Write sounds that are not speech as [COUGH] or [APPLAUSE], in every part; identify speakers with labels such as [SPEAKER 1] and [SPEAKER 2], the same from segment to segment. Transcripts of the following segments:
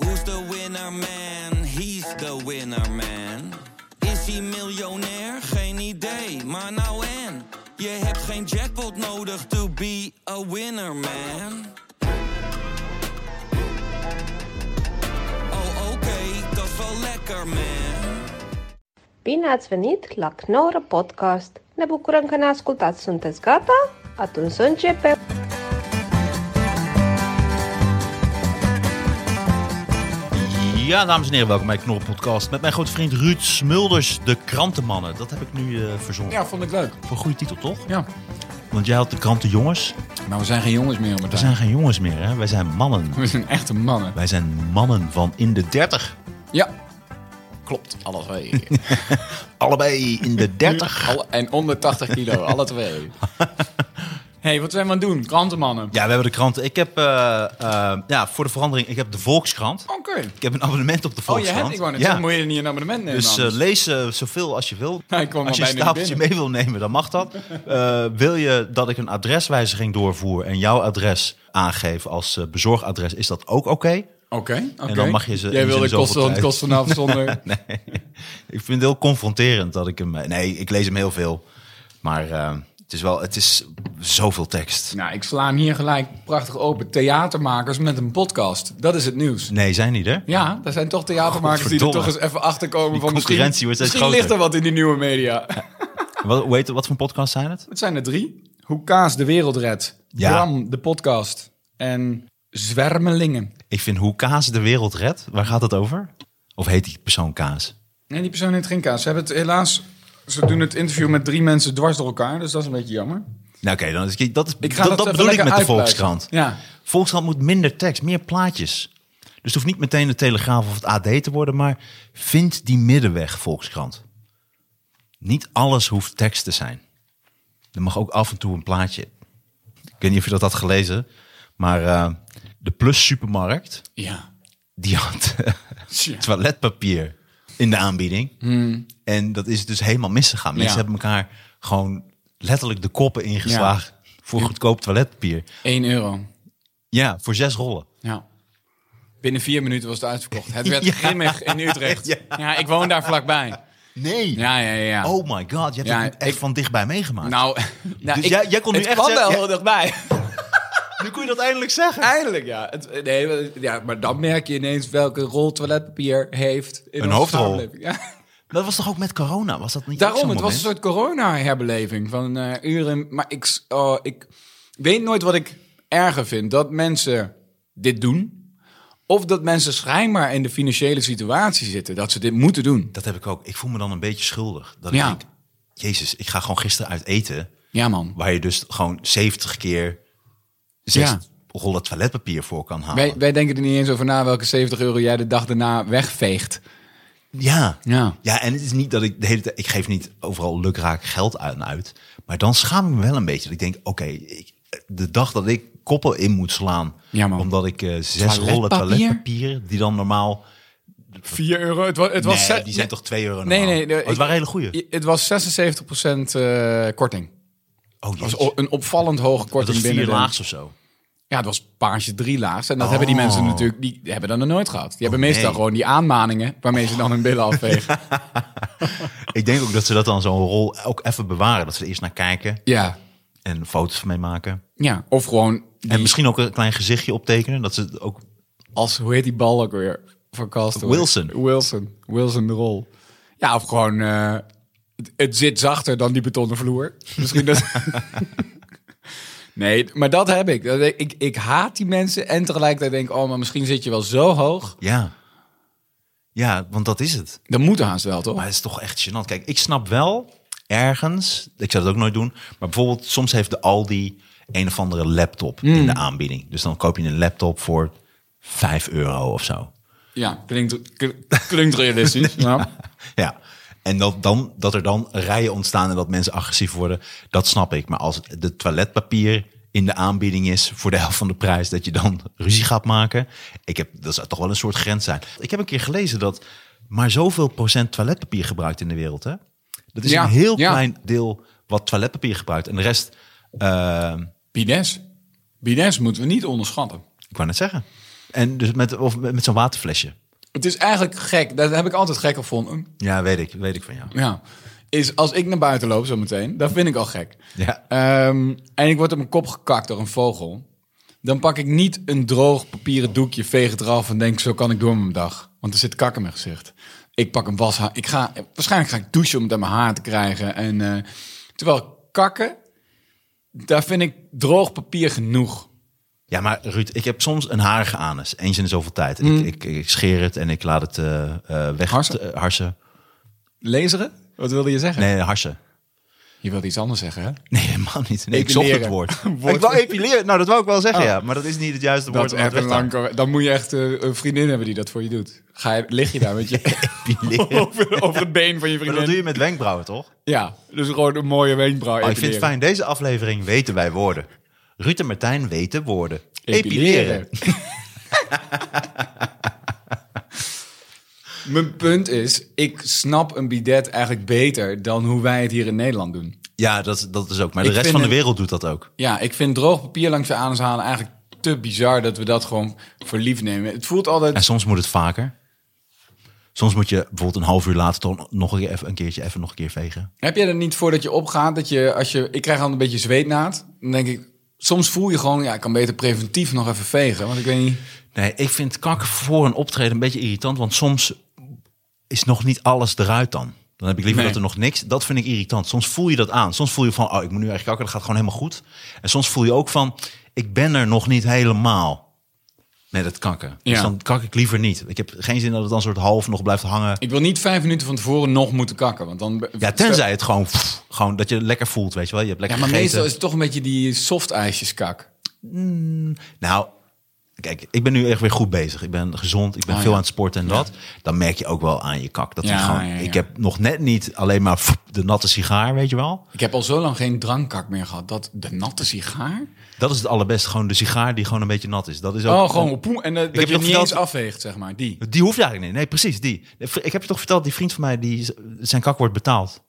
[SPEAKER 1] Who's the winner man? He's the winner man. Is hij miljonair? Geen idee, maar nou en. Je hebt geen jackpot nodig to be a winner man. Oh oké, dat is wel lekker man.
[SPEAKER 2] Bine ați venit la Knorr Podcast! Ne bucurăm că ne ascultați! Sunteți gata? Atunci să începem!
[SPEAKER 3] Ja, dames en heren, welkom bij Knorren Podcast met mijn grote vriend Ruud Smulders, de krantenmannen. Dat heb ik nu eh, verzonnen.
[SPEAKER 4] Ja, vond ik leuk.
[SPEAKER 3] Voor een goede titel, toch?
[SPEAKER 4] Ja.
[SPEAKER 3] Want jij had de krantenjongens.
[SPEAKER 4] Maar we zijn geen jongens meer, maar
[SPEAKER 3] We zijn geen jongens meer, hè? Wij zijn mannen.
[SPEAKER 4] we zijn echte mannen.
[SPEAKER 3] Wij zijn mannen van in de dertig.
[SPEAKER 4] Ja. Klopt, alle twee.
[SPEAKER 3] [LAUGHS] Allebei in de dertig.
[SPEAKER 4] Alle- en onder 80
[SPEAKER 3] [LAUGHS]
[SPEAKER 4] kilo, alle twee. hey, wat zijn we aan het doen? Krantenmannen.
[SPEAKER 3] Ja, we hebben de kranten. Ik heb, eh, eh, ja, voor de verandering, ik heb de Volkskrant.
[SPEAKER 4] Oké.
[SPEAKER 3] Ik heb een abonnement op de
[SPEAKER 4] Oh, je
[SPEAKER 3] Volkskrant.
[SPEAKER 4] hebt? Ik wou net
[SPEAKER 3] Ja.
[SPEAKER 4] zeggen, moet je er niet een abonnement nemen
[SPEAKER 3] Dus eh,
[SPEAKER 4] anders?
[SPEAKER 3] lees eh, zoveel als je wil.
[SPEAKER 4] [LAUGHS] Hij kwam
[SPEAKER 3] als je
[SPEAKER 4] al
[SPEAKER 3] een
[SPEAKER 4] bijna
[SPEAKER 3] stapeltje
[SPEAKER 4] binnen.
[SPEAKER 3] mee wil nemen, dan mag
[SPEAKER 4] [LAUGHS]
[SPEAKER 3] dat. Eh, wil je dat ik een adreswijziging doorvoer en jouw adres aangeef als eh, bezorgadres, is dat ook oké? [LAUGHS]
[SPEAKER 4] Oké, oké.
[SPEAKER 3] eh, En dan mag je ze-
[SPEAKER 4] Jij
[SPEAKER 3] in
[SPEAKER 4] wilde
[SPEAKER 3] zoveel
[SPEAKER 4] kosten want
[SPEAKER 3] tijd.
[SPEAKER 4] kosten vanaf
[SPEAKER 3] [LAUGHS]
[SPEAKER 4] zonder...
[SPEAKER 3] Nee. Ik vind het heel confronterend dat ik hem. eh, Nee, ik lees hem heel veel. Maar eh, het is wel, het is zoveel tekst.
[SPEAKER 4] Nou, ik sla hem hier gelijk prachtig open. Theatermakers met een podcast. Dat is het nieuws.
[SPEAKER 3] Nee, zijn niet hè?
[SPEAKER 4] Ja, daar zijn toch theatermakers die er toch
[SPEAKER 3] Oh, Godverdomme.
[SPEAKER 4] eens even achter komen
[SPEAKER 3] Die
[SPEAKER 4] van misschien,
[SPEAKER 3] concurrentie wordt steeds
[SPEAKER 4] misschien ligt er
[SPEAKER 3] groter.
[SPEAKER 4] wat in die nieuwe media.
[SPEAKER 3] Wat, hoe heet het? wat voor podcast zijn het?
[SPEAKER 4] Het zijn er drie. Hoe Kaas de wereld redt.
[SPEAKER 3] Ja.
[SPEAKER 4] Bram, de podcast. En Zwermelingen.
[SPEAKER 3] Ik vind hoe Kaas de wereld redt. Waar gaat het over? Of heet die persoon Kaas?
[SPEAKER 4] Nee, die persoon heet geen Kaas. Ze hebben het helaas... Ze doen het interview met drie mensen dwars door elkaar. Dus dat is een beetje jammer.
[SPEAKER 3] Nou oké, dan is dat, dat,
[SPEAKER 4] Ik
[SPEAKER 3] ik
[SPEAKER 4] ga
[SPEAKER 3] dat,
[SPEAKER 4] dat
[SPEAKER 3] dat
[SPEAKER 4] even
[SPEAKER 3] bedoel ik met
[SPEAKER 4] lekker
[SPEAKER 3] de
[SPEAKER 4] uitpluizen.
[SPEAKER 3] Volkskrant.
[SPEAKER 4] Ja.
[SPEAKER 3] Volkskrant moet minder tekst, meer plaatjes. Dus het hoeft niet meteen de Telegraaf of het AD te worden, maar vind die middenweg, Volkskrant. Niet alles hoeft tekst te zijn. Er mag ook af en toe een plaatje. Ik weet niet of je dat had gelezen, maar eh, de Plus Supermarkt,
[SPEAKER 4] Ja.
[SPEAKER 3] die had eh,
[SPEAKER 4] [LAUGHS] Tja. Hmm.
[SPEAKER 3] toiletpapier in de aanbieding. En dat is dus helemaal misgegaan. Mensen
[SPEAKER 4] Ja.
[SPEAKER 3] hebben elkaar gewoon letterlijk de koppen ingeslagen voor goedkoop toiletpapier.
[SPEAKER 4] 1 euro.
[SPEAKER 3] Ja, voor zes rollen.
[SPEAKER 4] Ja. Binnen vier minuten was het uitverkocht. [LAUGHS] Het werd
[SPEAKER 3] Ja.
[SPEAKER 4] grimmig in Utrecht.
[SPEAKER 3] Ja.
[SPEAKER 4] [LAUGHS] Ja. ik woon daar vlakbij.
[SPEAKER 3] Nee.
[SPEAKER 4] Ja, ja, ja.
[SPEAKER 3] Oh my god, je hebt
[SPEAKER 4] Ja,
[SPEAKER 3] het echt
[SPEAKER 4] ik-
[SPEAKER 3] van dichtbij meegemaakt.
[SPEAKER 4] Nou, [LAUGHS] nou
[SPEAKER 3] Dus jij- jij kon nu
[SPEAKER 4] het
[SPEAKER 3] echt
[SPEAKER 4] kwam
[SPEAKER 3] zeggen-
[SPEAKER 4] wel
[SPEAKER 3] ja.
[SPEAKER 4] heel dichtbij.
[SPEAKER 3] nu kun je dat eindelijk zeggen.
[SPEAKER 4] [LAUGHS] Eindelijk, ja. Het, nee, ja. Maar dan merk je ineens welke rol toiletpapier heeft. In
[SPEAKER 3] Een
[SPEAKER 4] onze
[SPEAKER 3] hoofdrol.
[SPEAKER 4] samenleving. Ja.
[SPEAKER 3] Dat was toch ook met corona? Was dat niet ook
[SPEAKER 4] Daarom,
[SPEAKER 3] zo'n
[SPEAKER 4] het was een
[SPEAKER 3] moment?
[SPEAKER 4] soort corona-herbeleving van eh, uren. Maar ik, s- oh, ik weet nooit wat ik erger vind. Dat mensen dit doen. Of dat mensen schijnbaar in de financiële situatie zitten. Dat ze dit moeten doen.
[SPEAKER 3] Dat heb ik ook. Ik voel me dan een beetje schuldig. Dat
[SPEAKER 4] Ja.
[SPEAKER 3] ik denk, jezus, ik ga gewoon gisteren uit eten.
[SPEAKER 4] Ja, man.
[SPEAKER 3] Waar je dus gewoon 70 keer zes
[SPEAKER 4] Ja.
[SPEAKER 3] rollen toiletpapier voor kan halen.
[SPEAKER 4] Wij, wij denken er niet eens over na welke 70 euro jij de dag daarna wegveegt.
[SPEAKER 3] Ja.
[SPEAKER 4] Ja.
[SPEAKER 3] ja, en het is niet dat ik de hele tijd... Ik geef niet overal lukraak geld aan uit. Maar dan schaam ik me wel een beetje. Dat ik denk, oké, ik- de dag dat ik koppen in moet slaan...
[SPEAKER 4] Ja, man.
[SPEAKER 3] omdat ik eh, zes rollen
[SPEAKER 4] Toiletpapier?
[SPEAKER 3] toiletpapier... die dan normaal...
[SPEAKER 4] 4 euro? Het was, het
[SPEAKER 3] nee, die zijn toch 2 euro normaal?
[SPEAKER 4] Nee, nee. de-
[SPEAKER 3] Oh, het
[SPEAKER 4] ik-
[SPEAKER 3] waren hele goeie.
[SPEAKER 4] Het was 76% eh, korting.
[SPEAKER 3] Oh, dat
[SPEAKER 4] Dat was o- een opvallend hoge
[SPEAKER 3] dat
[SPEAKER 4] korting
[SPEAKER 3] is
[SPEAKER 4] binnen
[SPEAKER 3] vier
[SPEAKER 4] de-
[SPEAKER 3] laags of zo.
[SPEAKER 4] Ja, het was paarse drie laags. En dat hebben die mensen natuurlijk, die hebben dat nog nooit gehad. Die hebben
[SPEAKER 3] Oh,
[SPEAKER 4] meestal
[SPEAKER 3] nee.
[SPEAKER 4] gewoon die aanmaningen waarmee ze dan hun billen afvegen.
[SPEAKER 3] [LAUGHS] Ik denk ook dat ze dat dan zo'n rol ook even bewaren. Dat ze er eerst naar kijken
[SPEAKER 4] ja.
[SPEAKER 3] en foto's van mee maken.
[SPEAKER 4] ja, of gewoon die,
[SPEAKER 3] En misschien ook een klein gezichtje optekenen. Dat ze het ook...
[SPEAKER 4] als, hoe heet die bal ook weer van Castaway?
[SPEAKER 3] Wilson.
[SPEAKER 4] Wilson. Wilson de rol. Ja, of gewoon, eh, het, het zit zachter dan die betonnen vloer. Misschien dat...
[SPEAKER 3] [LAUGHS]
[SPEAKER 4] Nee, maar dat heb ik. Dat- Ik, ik haat die mensen en tegelijkertijd denk ik, oh, maar misschien zit je wel zo hoog.
[SPEAKER 3] Ja. Ja, want dat is het.
[SPEAKER 4] Dat moet haast wel, toch?
[SPEAKER 3] Maar het is toch echt gênant. Kijk, ik snap wel ergens, ik zou dat ook nooit doen, maar bijvoorbeeld soms heeft de Aldi een of andere laptop in de aanbieding. Dus dan koop je een laptop voor 5 euro of zo.
[SPEAKER 4] Ja, klinkt, klinkt
[SPEAKER 3] [LAUGHS]
[SPEAKER 4] realistisch. ja.
[SPEAKER 3] Ja. En dat, dan, dat er dan rijen ontstaan en dat mensen agressief worden, dat snap ik. Maar als het de toiletpapier in de aanbieding is voor de helft van de prijs, dat je dan ruzie gaat maken. Ik heb, dat zou toch wel een soort grens zijn. Ik heb een keer gelezen dat maar zoveel procent toiletpapier gebruikt in de wereld. Hè? Dat is
[SPEAKER 4] Ja,
[SPEAKER 3] een heel
[SPEAKER 4] ja.
[SPEAKER 3] klein deel wat toiletpapier gebruikt. En de rest, eh,
[SPEAKER 4] Bides. Bides moeten we niet onderschatten.
[SPEAKER 3] ik wou net zeggen, En dus met, of met met zo'n waterflesje.
[SPEAKER 4] Het is eigenlijk gek. Dat heb ik altijd gek gevonden.
[SPEAKER 3] Ja, weet ik. Weet ik van jou.
[SPEAKER 4] Ja. Is als ik naar buiten loop zometeen, dat vind ik al gek.
[SPEAKER 3] Ja.
[SPEAKER 4] Ehm, en ik word op mijn kop gekakt door een vogel. Dan pak ik niet een droog papieren doekje, veeg het eraf en denk zo kan ik door mijn dag. Want er zit kak in mijn gezicht. Ik pak een washa. Ik ga, waarschijnlijk ga ik douchen om het aan mijn haar te krijgen. En, eh, terwijl kakken, daar vind ik droog papier genoeg.
[SPEAKER 3] Ja, maar Ruud, ik heb soms een harige anus. Eens in de zoveel tijd. En Ik, ik, ik scheer het en ik laat het eh, eh, weg.
[SPEAKER 4] Mm. Harsen?
[SPEAKER 3] eh, harsen.
[SPEAKER 4] Lezeren? Wat wilde je zeggen?
[SPEAKER 3] Nee, harsen. [LAUGHS]
[SPEAKER 4] Je wilde iets anders zeggen, hè?
[SPEAKER 3] Nee, helemaal niet. Nee, ik
[SPEAKER 4] Epileren.
[SPEAKER 3] zocht het woord.
[SPEAKER 4] [LAUGHS] Woord- Oh.
[SPEAKER 3] Ik wou epileren. Nou, dat wou ik wel zeggen, ja. Maar dat is niet het juiste
[SPEAKER 4] Dat
[SPEAKER 3] woord.
[SPEAKER 4] is
[SPEAKER 3] om het
[SPEAKER 4] echt een
[SPEAKER 3] weg te
[SPEAKER 4] lang... Dan moet je echt eh, een vriendin hebben die dat voor je doet. Ga je, lig je daar met je
[SPEAKER 3] [LAUGHS] halen. Epileren.
[SPEAKER 4] over, over het been van je
[SPEAKER 3] Maar
[SPEAKER 4] vriendin.
[SPEAKER 3] dat doe je Oh, met wenkbrauwen, toch?
[SPEAKER 4] Ja, dus gewoon een mooie wenkbrauw
[SPEAKER 3] Maar ik vind het
[SPEAKER 4] epileren.
[SPEAKER 3] fijn. Deze aflevering weten wij woorden. Ruud en Martijn weten woorden.
[SPEAKER 4] Epileren.
[SPEAKER 3] Epileren.
[SPEAKER 4] [LAUGHS] Mijn punt is, ik snap een bidet eigenlijk beter dan hoe wij het hier in Nederland doen.
[SPEAKER 3] Ja, dat, dat is ook. Maar de
[SPEAKER 4] Ik
[SPEAKER 3] rest
[SPEAKER 4] vind
[SPEAKER 3] van de
[SPEAKER 4] het-
[SPEAKER 3] wereld doet dat ook.
[SPEAKER 4] Ja, ik vind droog papier langs je anus halen eigenlijk te bizar dat we dat gewoon voor lief nemen. Het voelt
[SPEAKER 3] En
[SPEAKER 4] altijd...
[SPEAKER 3] soms moet het vaker. Soms moet je bijvoorbeeld een half uur later toch nog een, keer even, een keertje even nog een keer vegen.
[SPEAKER 4] Heb jij er niet voor dat je opgaat, dat je als je... Ik krijg dan een beetje zweetnaad. Dan denk ik, soms voel je gewoon, ja, ik kan beter preventief nog even vegen. Want ik weet niet...
[SPEAKER 3] Nee, ik vind kak voor een optreden een beetje irritant. Want soms is nog niet alles eruit dan. Dan heb ik liever
[SPEAKER 4] Nee.
[SPEAKER 3] dat er nog niks. Dat vind ik irritant. Soms voel je dat aan. Soms voel je van, oh, ik moet nu echt kakken. Dat gaat gewoon helemaal goed. En soms voel je ook van, ik ben er nog niet helemaal met het kakken. Dus
[SPEAKER 4] Ja.
[SPEAKER 3] dan kak ik liever niet. Ik heb geen zin dat het dan soort half nog blijft hangen.
[SPEAKER 4] Ik wil niet vijf minuten van tevoren nog moeten kakken, want dan...
[SPEAKER 3] Ja, tenzij het gewoon, pff, gewoon dat je lekker voelt, weet je wel. Je hebt
[SPEAKER 4] Ja,
[SPEAKER 3] lekker
[SPEAKER 4] maar
[SPEAKER 3] gegeten.
[SPEAKER 4] meestal is het toch een beetje die soft ijsjeskak.
[SPEAKER 3] Nou, kijk, ik ben nu echt weer goed bezig. Ik ben gezond, ik ben
[SPEAKER 4] Ah,
[SPEAKER 3] veel
[SPEAKER 4] ja.
[SPEAKER 3] aan het sporten en dat. Dan merk je ook wel aan je kak. Dat
[SPEAKER 4] Ja,
[SPEAKER 3] je gewoon,
[SPEAKER 4] ja, ja.
[SPEAKER 3] Ik heb nog net niet alleen maar [LAUGHS] pff, de natte sigaar, weet je wel.
[SPEAKER 4] Ik heb al zo lang geen drankkak meer gehad. Dat de natte sigaar.
[SPEAKER 3] Dat is het allerbeste, gewoon de sigaar die gewoon een beetje nat is. Dat is ook,
[SPEAKER 4] Oh, gewoon poem. En eh,
[SPEAKER 3] heb
[SPEAKER 4] dat je
[SPEAKER 3] je
[SPEAKER 4] het
[SPEAKER 3] nog
[SPEAKER 4] niet eens
[SPEAKER 3] verteld-
[SPEAKER 4] afweegt, zeg maar. Die.
[SPEAKER 3] Die hoeft eigenlijk niet. Nee, precies, die. Ik heb je toch verteld, die vriend van mij, die, z- zijn kak wordt betaald.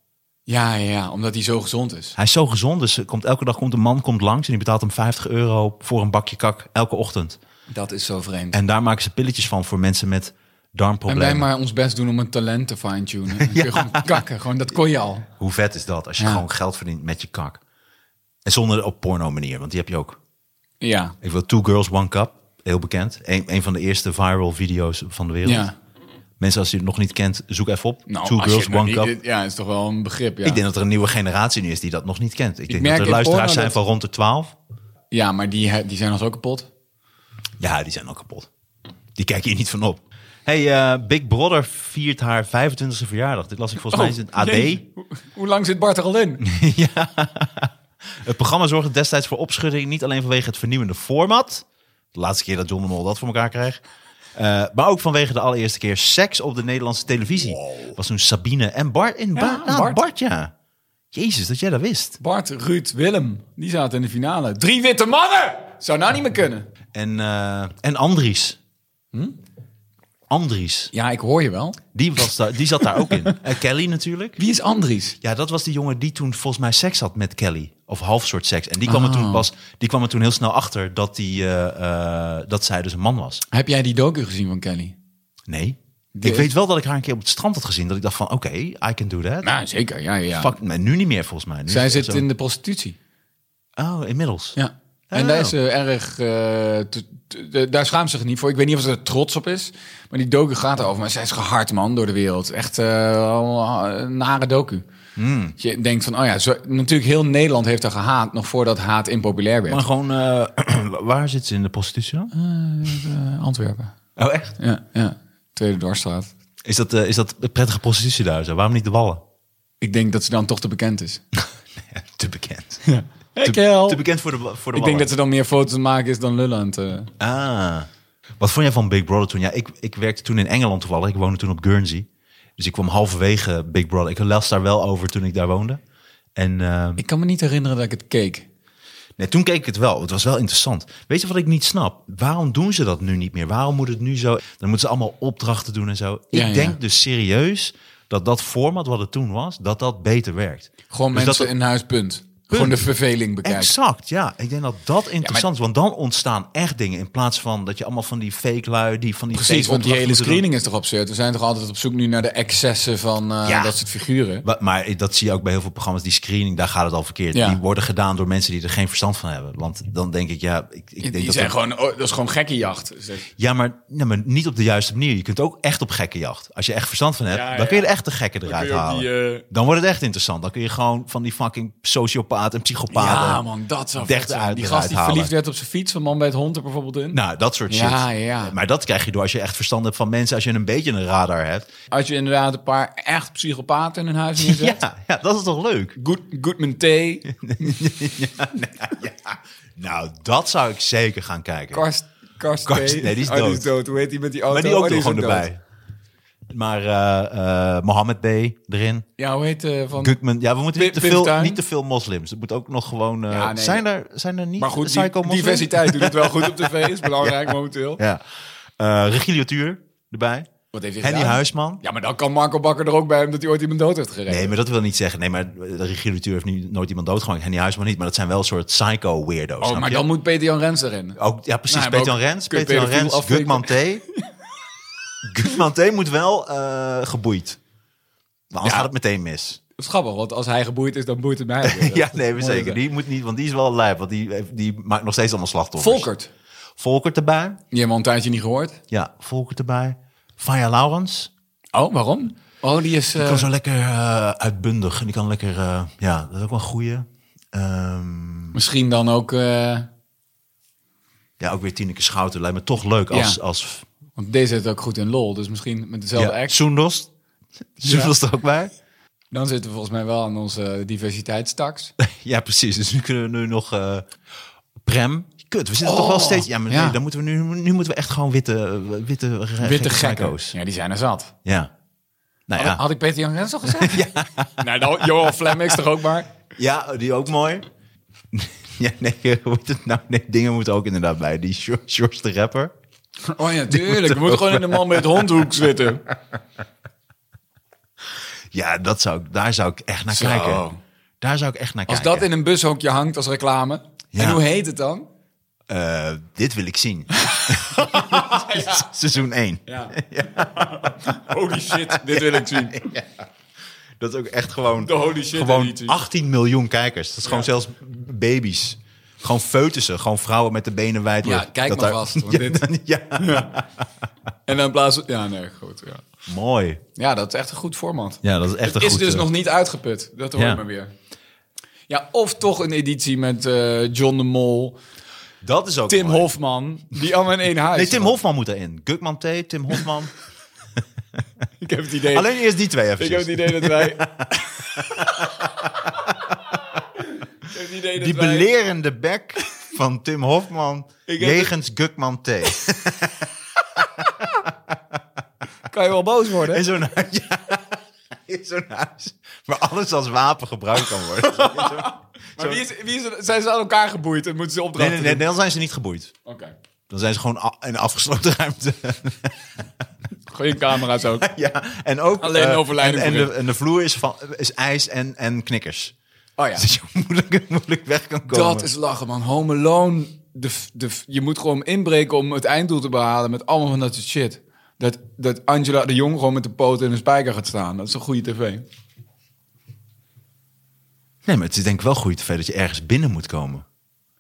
[SPEAKER 4] Ja, ja, ja, omdat die zo gezond is.
[SPEAKER 3] Hij is zo gezond, dus er komt, elke dag komt een man komt langs... en die betaalt hem 50 euro voor een bakje kak elke ochtend.
[SPEAKER 4] Dat is zo vreemd. En,
[SPEAKER 3] En daar maken ze pilletjes van voor mensen met
[SPEAKER 4] wij
[SPEAKER 3] darmproblemen.
[SPEAKER 4] maar ons best doen om een talent te
[SPEAKER 3] [LAUGHS]
[SPEAKER 4] fine-tunen. Dan kun je gewoon kakken. Gewoon, dat kon je al.
[SPEAKER 3] Hoe vet is dat als je
[SPEAKER 4] Ja.
[SPEAKER 3] gewoon geld verdient met je kak? En zonder op porno manier, want die heb je ook.
[SPEAKER 4] Ja.
[SPEAKER 3] Ik wil Two Girls One Cup, heel bekend. Eén een van de eerste viral video's van de wereld.
[SPEAKER 4] Ja.
[SPEAKER 3] Mensen, als je het nog niet kent, zoek even op.
[SPEAKER 4] Nou,
[SPEAKER 3] Two
[SPEAKER 4] als
[SPEAKER 3] Girls
[SPEAKER 4] je het nog
[SPEAKER 3] One
[SPEAKER 4] niet-
[SPEAKER 3] Cup.
[SPEAKER 4] dit- Ja, is toch wel een begrip, ja.
[SPEAKER 3] Ik denk dat er een nieuwe generatie nu is die dat nog niet kent. Ik, denk
[SPEAKER 4] merk
[SPEAKER 3] dat er
[SPEAKER 4] in
[SPEAKER 3] luisteraars
[SPEAKER 4] porno
[SPEAKER 3] zijn
[SPEAKER 4] dat-
[SPEAKER 3] van rond de 12.
[SPEAKER 4] Ja, maar die, he- die zijn al zo kapot.
[SPEAKER 3] Ja, die zijn al kapot. Die kijken hier niet van op. Hey, eh, Big Brother viert haar 25e verjaardag. Dit las ik
[SPEAKER 4] Oh,
[SPEAKER 3] volgens mij in het AD.
[SPEAKER 4] jee. Hoe, hoe lang zit Bart er al
[SPEAKER 3] [LAUGHS]
[SPEAKER 4] in?
[SPEAKER 3] Het programma zorgde destijds voor opschudding, niet alleen vanwege het vernieuwende format. De laatste keer dat John de Mol dat voor elkaar kreeg. eh, maar ook vanwege de allereerste keer seks op de Nederlandse televisie. Was toen Sabine en Bart in ba-
[SPEAKER 4] Ja,
[SPEAKER 3] ah,
[SPEAKER 4] Bart.
[SPEAKER 3] Bart. ja. Jezus, dat jij dat wist.
[SPEAKER 4] Bart, Ruud, Willem. Die zaten in de finale. Drie witte mannen! Zou nou niet meer kunnen.
[SPEAKER 3] En, eh, en Andries. Andries.
[SPEAKER 4] Ja, ik hoor je wel.
[SPEAKER 3] Die, was daar, die zat daar ook in. En Kelly natuurlijk.
[SPEAKER 4] Wie is Andries?
[SPEAKER 3] Ja, dat was die jongen die toen volgens mij seks had met Kelly. Of half soort seks. En die kwam, er, toen pas, die kwam er toen heel snel achter dat, die, eh, eh, dat zij dus een man was.
[SPEAKER 4] Heb jij die docu gezien van Kelly?
[SPEAKER 3] Nee.
[SPEAKER 4] De-
[SPEAKER 3] Ik weet wel dat ik haar een keer op het strand had gezien. Dat ik dacht van, oké, I can do that.
[SPEAKER 4] Nou, zeker. Ja, ja, ja.
[SPEAKER 3] Fuck, nee, nu niet meer volgens mij. Nu
[SPEAKER 4] Zij
[SPEAKER 3] is het
[SPEAKER 4] zit
[SPEAKER 3] zo-
[SPEAKER 4] in de prostitutie.
[SPEAKER 3] Oh, inmiddels.
[SPEAKER 4] Ja. En
[SPEAKER 3] Oh.
[SPEAKER 4] daar is ze erg... eh, t- t- eh, daar schaamt ze zich niet voor. Ik weet niet of ze er trots op is. Maar die docu gaat erover. Maar zij is gehard, man, door de wereld. Echt eh, allemaal een nare docu.
[SPEAKER 3] Hmm.
[SPEAKER 4] Je denkt van, oh ja, zo, natuurlijk heel Nederland heeft haar gehaat... nog voordat haat impopulair werd.
[SPEAKER 3] Maar gewoon, eh, [CLEARS THROAT] waar zit ze in de prostitutie dan?
[SPEAKER 4] Eh, Antwerpen.
[SPEAKER 3] Oh, echt?
[SPEAKER 4] Ja, ja. Tweede Dwarsstraat.
[SPEAKER 3] Is dat, eh, is dat een prettige prostitutie daar? zo? Waarom niet de [LAUGHS] wallen?
[SPEAKER 4] Ik denk dat ze dan toch te bekend [LAUGHS] is.
[SPEAKER 3] Ja, te bekend.
[SPEAKER 4] Hey,
[SPEAKER 3] te,
[SPEAKER 4] Kel.
[SPEAKER 3] te bekend voor de, wa- voor de
[SPEAKER 4] Ik denk
[SPEAKER 3] wallen.
[SPEAKER 4] dat ze dan meer foto's aan het maken is dan lullen aan het... eh.
[SPEAKER 3] Ah. Wat vond jij van Big Brother toen? Ja, ik, ik werkte toen in Engeland toevallig. Ik woonde toen op Guernsey. Dus ik kwam halverwege Big Brother. Ik las daar wel over toen ik daar woonde. En ehm,
[SPEAKER 4] Ik kan me niet herinneren dat ik het keek.
[SPEAKER 3] Nee, toen keek ik het wel. Het was wel interessant. Weet je wat ik niet snap? Waarom doen ze dat nu niet meer? Waarom moet het nu zo? Dan moeten ze allemaal opdrachten doen en zo. Ik
[SPEAKER 4] Ja, ja.
[SPEAKER 3] denk dus serieus dat dat format wat het toen was, dat dat beter werkt.
[SPEAKER 4] Gewoon
[SPEAKER 3] Dus
[SPEAKER 4] mensen
[SPEAKER 3] dat,
[SPEAKER 4] in huis, punt. Gewoon de verveling bekijken.
[SPEAKER 3] Exact, ja. Ik denk dat dat interessant is. Want dan ontstaan echt dingen. In plaats van dat je allemaal van die fake lui, die van die
[SPEAKER 4] Precies,
[SPEAKER 3] fake
[SPEAKER 4] want die
[SPEAKER 3] opdrachten
[SPEAKER 4] hele
[SPEAKER 3] moeten doen.
[SPEAKER 4] screening is toch absurd. We zijn toch altijd op zoek nu naar de excessen van eh,
[SPEAKER 3] Ja.
[SPEAKER 4] dat soort figuren.
[SPEAKER 3] Wa- Maar dat zie je ook bij heel veel programma's. Die screening, daar gaat het al verkeerd.
[SPEAKER 4] Ja.
[SPEAKER 3] Die worden gedaan door mensen die er geen verstand van hebben. Want dan denk ik, ja, ik, ik denk
[SPEAKER 4] Die
[SPEAKER 3] dat
[SPEAKER 4] zijn
[SPEAKER 3] dat-
[SPEAKER 4] gewoon, oh, dat is gewoon gekkenjacht. Dus dat-
[SPEAKER 3] ja maar, nee, maar niet op de juiste manier. Je kunt ook echt op gekkenjacht. Als je echt verstand van hebt,
[SPEAKER 4] Ja,
[SPEAKER 3] dan
[SPEAKER 4] ja.
[SPEAKER 3] kun je er echt de gekken
[SPEAKER 4] kun
[SPEAKER 3] eruit
[SPEAKER 4] je ook
[SPEAKER 3] halen.
[SPEAKER 4] die, eh,
[SPEAKER 3] Dan wordt het echt interessant. Dan kun je gewoon van die fucking sociopaat en psychopaten.
[SPEAKER 4] Ja, man, dat zou vet
[SPEAKER 3] Dertig
[SPEAKER 4] zijn.
[SPEAKER 3] uit-
[SPEAKER 4] Die
[SPEAKER 3] eruit
[SPEAKER 4] gast die
[SPEAKER 3] halen.
[SPEAKER 4] verliefd werd op zijn fiets, van man bij het hond er bijvoorbeeld in.
[SPEAKER 3] Nou, dat soort shit.
[SPEAKER 4] Ja, ja.
[SPEAKER 3] Maar dat krijg je door als je echt verstand hebt van mensen. Als je een beetje een radar hebt.
[SPEAKER 4] Als je inderdaad een paar echt psychopaten in hun huis [LAUGHS] neerzet.
[SPEAKER 3] [LAUGHS] Ja, ja dat is toch leuk?
[SPEAKER 4] Good, Goodman Thee,
[SPEAKER 3] Nou, dat zou ik zeker gaan kijken.
[SPEAKER 4] Karst, Karst,
[SPEAKER 3] Karst-
[SPEAKER 4] Thee.
[SPEAKER 3] nee, die is
[SPEAKER 4] Oh,
[SPEAKER 3] dood.
[SPEAKER 4] Hoe heet die met die auto?
[SPEAKER 3] maar die ook
[SPEAKER 4] Oh,
[SPEAKER 3] nog
[SPEAKER 4] is
[SPEAKER 3] gewoon
[SPEAKER 4] dood.
[SPEAKER 3] erbij. Maar eh, eh, Mohammed B. erin.
[SPEAKER 4] Ja, hoe heet eh, van...
[SPEAKER 3] Goodman. Ja, we moeten niet te,
[SPEAKER 4] Pim-
[SPEAKER 3] veel,
[SPEAKER 4] Pimtuin.
[SPEAKER 3] niet te veel moslims. Het moet ook nog gewoon... eh,
[SPEAKER 4] Ja, nee.
[SPEAKER 3] zijn, er, zijn er niet
[SPEAKER 4] maar goed, die-
[SPEAKER 3] psycho-moslims?
[SPEAKER 4] diversiteit doet het wel [LAUGHS] goed op tv. Is belangrijk momenteel.
[SPEAKER 3] Ja. Eh Regilio Tuur erbij.
[SPEAKER 4] Wat heeft hij
[SPEAKER 3] Henny
[SPEAKER 4] gedaan?
[SPEAKER 3] Huisman.
[SPEAKER 4] Ja, maar dan kan Marco Bakker er ook bij omdat hij ooit iemand dood heeft gereden.
[SPEAKER 3] Nee, maar dat wil niet zeggen. Nee, maar de Regilio Tuur heeft nu nooit iemand doodgemaakt. Henny Huisman niet. Maar dat zijn wel een soort psycho-weirdo's.
[SPEAKER 4] oh,
[SPEAKER 3] snap
[SPEAKER 4] maar
[SPEAKER 3] je?
[SPEAKER 4] dan moet Peter Jan Rens erin.
[SPEAKER 3] Ook, ja, precies.
[SPEAKER 4] Nou, maar
[SPEAKER 3] Peter Jan
[SPEAKER 4] ook-
[SPEAKER 3] Rens.
[SPEAKER 4] kun je
[SPEAKER 3] Peter Jan
[SPEAKER 4] pedofiel
[SPEAKER 3] Rens.
[SPEAKER 4] afvinken.
[SPEAKER 3] Gutman T.
[SPEAKER 4] [LAUGHS]
[SPEAKER 3] Gutman T moet wel eh, geboeid. Maar anders
[SPEAKER 4] Ja.
[SPEAKER 3] gaat het meteen
[SPEAKER 4] [LAUGHS]
[SPEAKER 3] mis.
[SPEAKER 4] Dat is grappig, want als hij geboeid is, dan boeit
[SPEAKER 3] [LAUGHS]
[SPEAKER 4] het mij. weer.
[SPEAKER 3] Ja, nee, maar
[SPEAKER 4] Mooi
[SPEAKER 3] zeker.
[SPEAKER 4] dat-
[SPEAKER 3] Die moet niet, want die is wel lijp. Want die, heeft- die maakt nog steeds allemaal slachtoffers.
[SPEAKER 4] Volkert.
[SPEAKER 3] Volkert erbij.
[SPEAKER 4] Die hebben we al een tijdje niet gehoord.
[SPEAKER 3] Ja, Volkert erbij. Faya Laurens.
[SPEAKER 4] Oh, waarom? Oh, die is...
[SPEAKER 3] Die
[SPEAKER 4] eh,
[SPEAKER 3] kan zo lekker eh, uitbundig. En die kan lekker... eh, ja, dat is ook wel een goeie. Ehm,
[SPEAKER 4] Misschien dan ook... eh,
[SPEAKER 3] ja, ook weer Tineke Schouten. Lijkt me toch leuk als... als
[SPEAKER 4] want deze zit ook goed in lol, dus misschien met dezelfde
[SPEAKER 3] ja,
[SPEAKER 4] act.
[SPEAKER 3] Soendos. Soendos er ook bij.
[SPEAKER 4] Dan zitten we volgens mij wel aan onze
[SPEAKER 3] [LAUGHS]
[SPEAKER 4] diversiteitstaks.
[SPEAKER 3] Ja, precies. Dus nu kunnen we nu nog eh, prem. Kut, we zitten toch wel steeds. Ja, maar
[SPEAKER 4] Oh. ja.
[SPEAKER 3] Nee, dan moeten we nu, nu moeten we echt gewoon witte, witte,
[SPEAKER 4] Witte gekko's. Ja, die zijn er zat.
[SPEAKER 3] Ja. Nou ja.
[SPEAKER 4] Had ik Peter Jan Rens al
[SPEAKER 3] [LAUGHS]
[SPEAKER 4] gezegd? ja. Nou, dan Johan Flemmix toch ook maar.
[SPEAKER 3] ja, die ook mooi. [LAUGHS] ja, nee, hoe heet het nou? nee, dingen moeten ook inderdaad bij. Die George George de rapper.
[SPEAKER 4] Oh ja, tuurlijk. Je moet gewoon in de man met het hondhoek
[SPEAKER 3] [LAUGHS]
[SPEAKER 4] zitten.
[SPEAKER 3] Ja, dat zou, ik- daar zou ik echt naar
[SPEAKER 4] Zo.
[SPEAKER 3] kijken. Daar zou ik echt naar
[SPEAKER 4] Als
[SPEAKER 3] kijken.
[SPEAKER 4] dat in een bushokje hangt als reclame.
[SPEAKER 3] Ja.
[SPEAKER 4] En hoe heet het dan?
[SPEAKER 3] Eh, dit wil ik
[SPEAKER 4] [LAUGHS]
[SPEAKER 3] zien. [LAUGHS] Seizoen 1.
[SPEAKER 4] Ja. [LAUGHS] Holy shit, dit wil ik zien.
[SPEAKER 3] Dat is ook echt gewoon,
[SPEAKER 4] De holy shit
[SPEAKER 3] gewoon
[SPEAKER 4] editie.
[SPEAKER 3] 18 miljoen kijkers. Dat is gewoon zelfs baby's. Gewoon foetussen. Gewoon vrouwen met de benen wijd.
[SPEAKER 4] Ja,
[SPEAKER 3] open.
[SPEAKER 4] kijk
[SPEAKER 3] dat
[SPEAKER 4] maar
[SPEAKER 3] daar-
[SPEAKER 4] vast, want
[SPEAKER 3] [LAUGHS] ja,
[SPEAKER 4] dit-
[SPEAKER 3] ja.
[SPEAKER 4] En dan plaatsen... Ja, nee, goed. Ja.
[SPEAKER 3] mooi.
[SPEAKER 4] ja, dat is echt een goed format.
[SPEAKER 3] Ja, dat is echt een
[SPEAKER 4] is
[SPEAKER 3] goed...
[SPEAKER 4] dus
[SPEAKER 3] eh,
[SPEAKER 4] nog niet uitgeput. Dat hoor
[SPEAKER 3] ja.
[SPEAKER 4] ik maar weer. Ja, of toch een editie met eh, John de Mol,
[SPEAKER 3] Dat is ook
[SPEAKER 4] Tim
[SPEAKER 3] mooi.
[SPEAKER 4] Hofman. Die allemaal in één huis.
[SPEAKER 3] Nee, Tim Hofman moet erin. Gukman T, Tim Hofman.
[SPEAKER 4] [LAUGHS] Ik heb het idee.
[SPEAKER 3] Alleen eerst die twee even.
[SPEAKER 4] Ik heb het idee dat
[SPEAKER 3] [LAUGHS]
[SPEAKER 4] wij. ik heb het idee dat
[SPEAKER 3] Die
[SPEAKER 4] wij-
[SPEAKER 3] belerende bek van Tim Hofman
[SPEAKER 4] Ik heb
[SPEAKER 3] jegens Gukman T.
[SPEAKER 4] Kan je wel boos worden?
[SPEAKER 3] In zo'n huis. ja. [LAUGHS] In zo'n huis. Waar alles als wapen gebruikt kan
[SPEAKER 4] [LAUGHS]
[SPEAKER 3] worden.
[SPEAKER 4] maar wie is, wie is er- zijn ze aan elkaar geboeid en moeten ze
[SPEAKER 3] Nee,
[SPEAKER 4] opdrachten
[SPEAKER 3] nee, nee,
[SPEAKER 4] doen?
[SPEAKER 3] dan zijn ze niet geboeid.
[SPEAKER 4] Oké.
[SPEAKER 3] Dan zijn ze gewoon a- in een afgesloten [LAUGHS] ruimte.
[SPEAKER 4] Gooi je camera's ook.
[SPEAKER 3] ja, en ook...
[SPEAKER 4] Alleen
[SPEAKER 3] eh,
[SPEAKER 4] overlijden
[SPEAKER 3] En, en,
[SPEAKER 4] voor
[SPEAKER 3] de, en de vloer is, van, is ijs en, en knikkers. [LAUGHS]
[SPEAKER 4] Oh ja.
[SPEAKER 3] Zodat je moeilijk, moeilijk weg kan komen.
[SPEAKER 4] Dat is lachen, man. Home Alone. De, f- de, f- je moet gewoon inbreken om het einddoel te behalen met allemaal van dat soort shit. Dat, dat Angela de Jong gewoon met de poten in een spijker gaat staan. Dat is een goede tv.
[SPEAKER 3] Nee, maar het is denk ik wel goed tv dat je ergens binnen moet komen.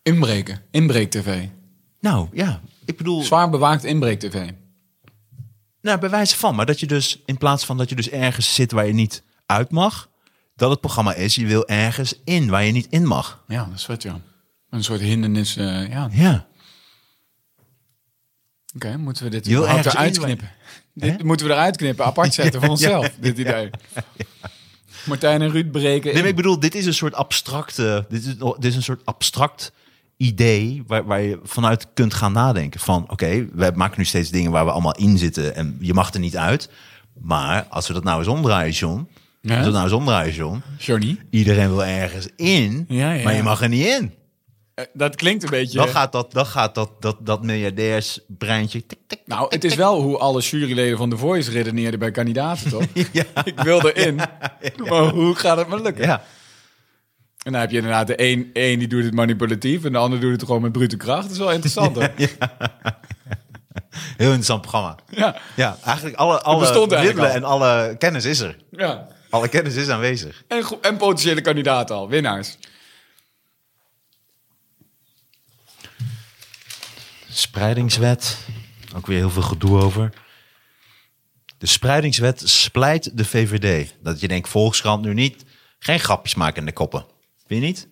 [SPEAKER 4] Inbreken. Inbreek-tv.
[SPEAKER 3] Nou, ja. Ik bedoel,
[SPEAKER 4] Zwaar bewaakt inbreek-tv.
[SPEAKER 3] nou, bij wijze van. Maar dat je dus, in plaats van dat je dus ergens zit waar je niet uit mag... dat het programma is, je wil ergens in waar je niet in mag.
[SPEAKER 4] Ja, dat is vet, ja. Een soort hindernis. eh, ja. Oké,
[SPEAKER 3] Ja.
[SPEAKER 4] moeten we dit
[SPEAKER 3] Je wil
[SPEAKER 4] überhaupt
[SPEAKER 3] ergens
[SPEAKER 4] eruit
[SPEAKER 3] in-
[SPEAKER 4] knippen? Dit moeten we eruit knippen, [LAUGHS] apart zetten voor onszelf, dit idee. Martijn en Ruud breken.
[SPEAKER 3] Nee, maar
[SPEAKER 4] in.
[SPEAKER 3] ik bedoel, dit is een soort abstracte. Dit is, dit is een soort abstract idee waar, waar je vanuit kunt gaan nadenken. Van oké, we maken nu steeds dingen waar we allemaal in zitten en je mag er niet uit. Maar als we dat nou eens omdraaien, John.
[SPEAKER 4] Ja.
[SPEAKER 3] Als we dat nou eens omdraaien, John.
[SPEAKER 4] Johnny.
[SPEAKER 3] Iedereen wil ergens in,
[SPEAKER 4] Ja, ja.
[SPEAKER 3] maar je mag er niet in.
[SPEAKER 4] eh, Dat klinkt een beetje...
[SPEAKER 3] Dan gaat dat, dan gaat dat, dat, dat miljardairsbreintje. tik, tik.
[SPEAKER 4] Nou, het is wel hoe alle juryleden van The Voice redeneerden bij
[SPEAKER 3] [LAUGHS]
[SPEAKER 4] kandidaten, toch? Ik wil erin, maar hoe gaat het me lukken?
[SPEAKER 3] Ja.
[SPEAKER 4] En dan heb je inderdaad de één, één die doet het manipulatief en de ander doet het gewoon met brute kracht. Dat is wel interessanter. Ja,
[SPEAKER 3] Heel interessant programma.
[SPEAKER 4] ja.
[SPEAKER 3] Ja, eigenlijk alle, alle
[SPEAKER 4] bestond eigenlijk
[SPEAKER 3] middelen
[SPEAKER 4] al.
[SPEAKER 3] en alle kennis is er. Alle kennis is aanwezig.
[SPEAKER 4] En, go- en potentiële kandidaten al, winnaars.
[SPEAKER 3] Spreidingswet. Ook weer heel veel gedoe over. De spreidingswet splijt de VVD. Dat je denkt, Volkskrant nu niet. Geen grapjes maken in de koppen. Vind je niet?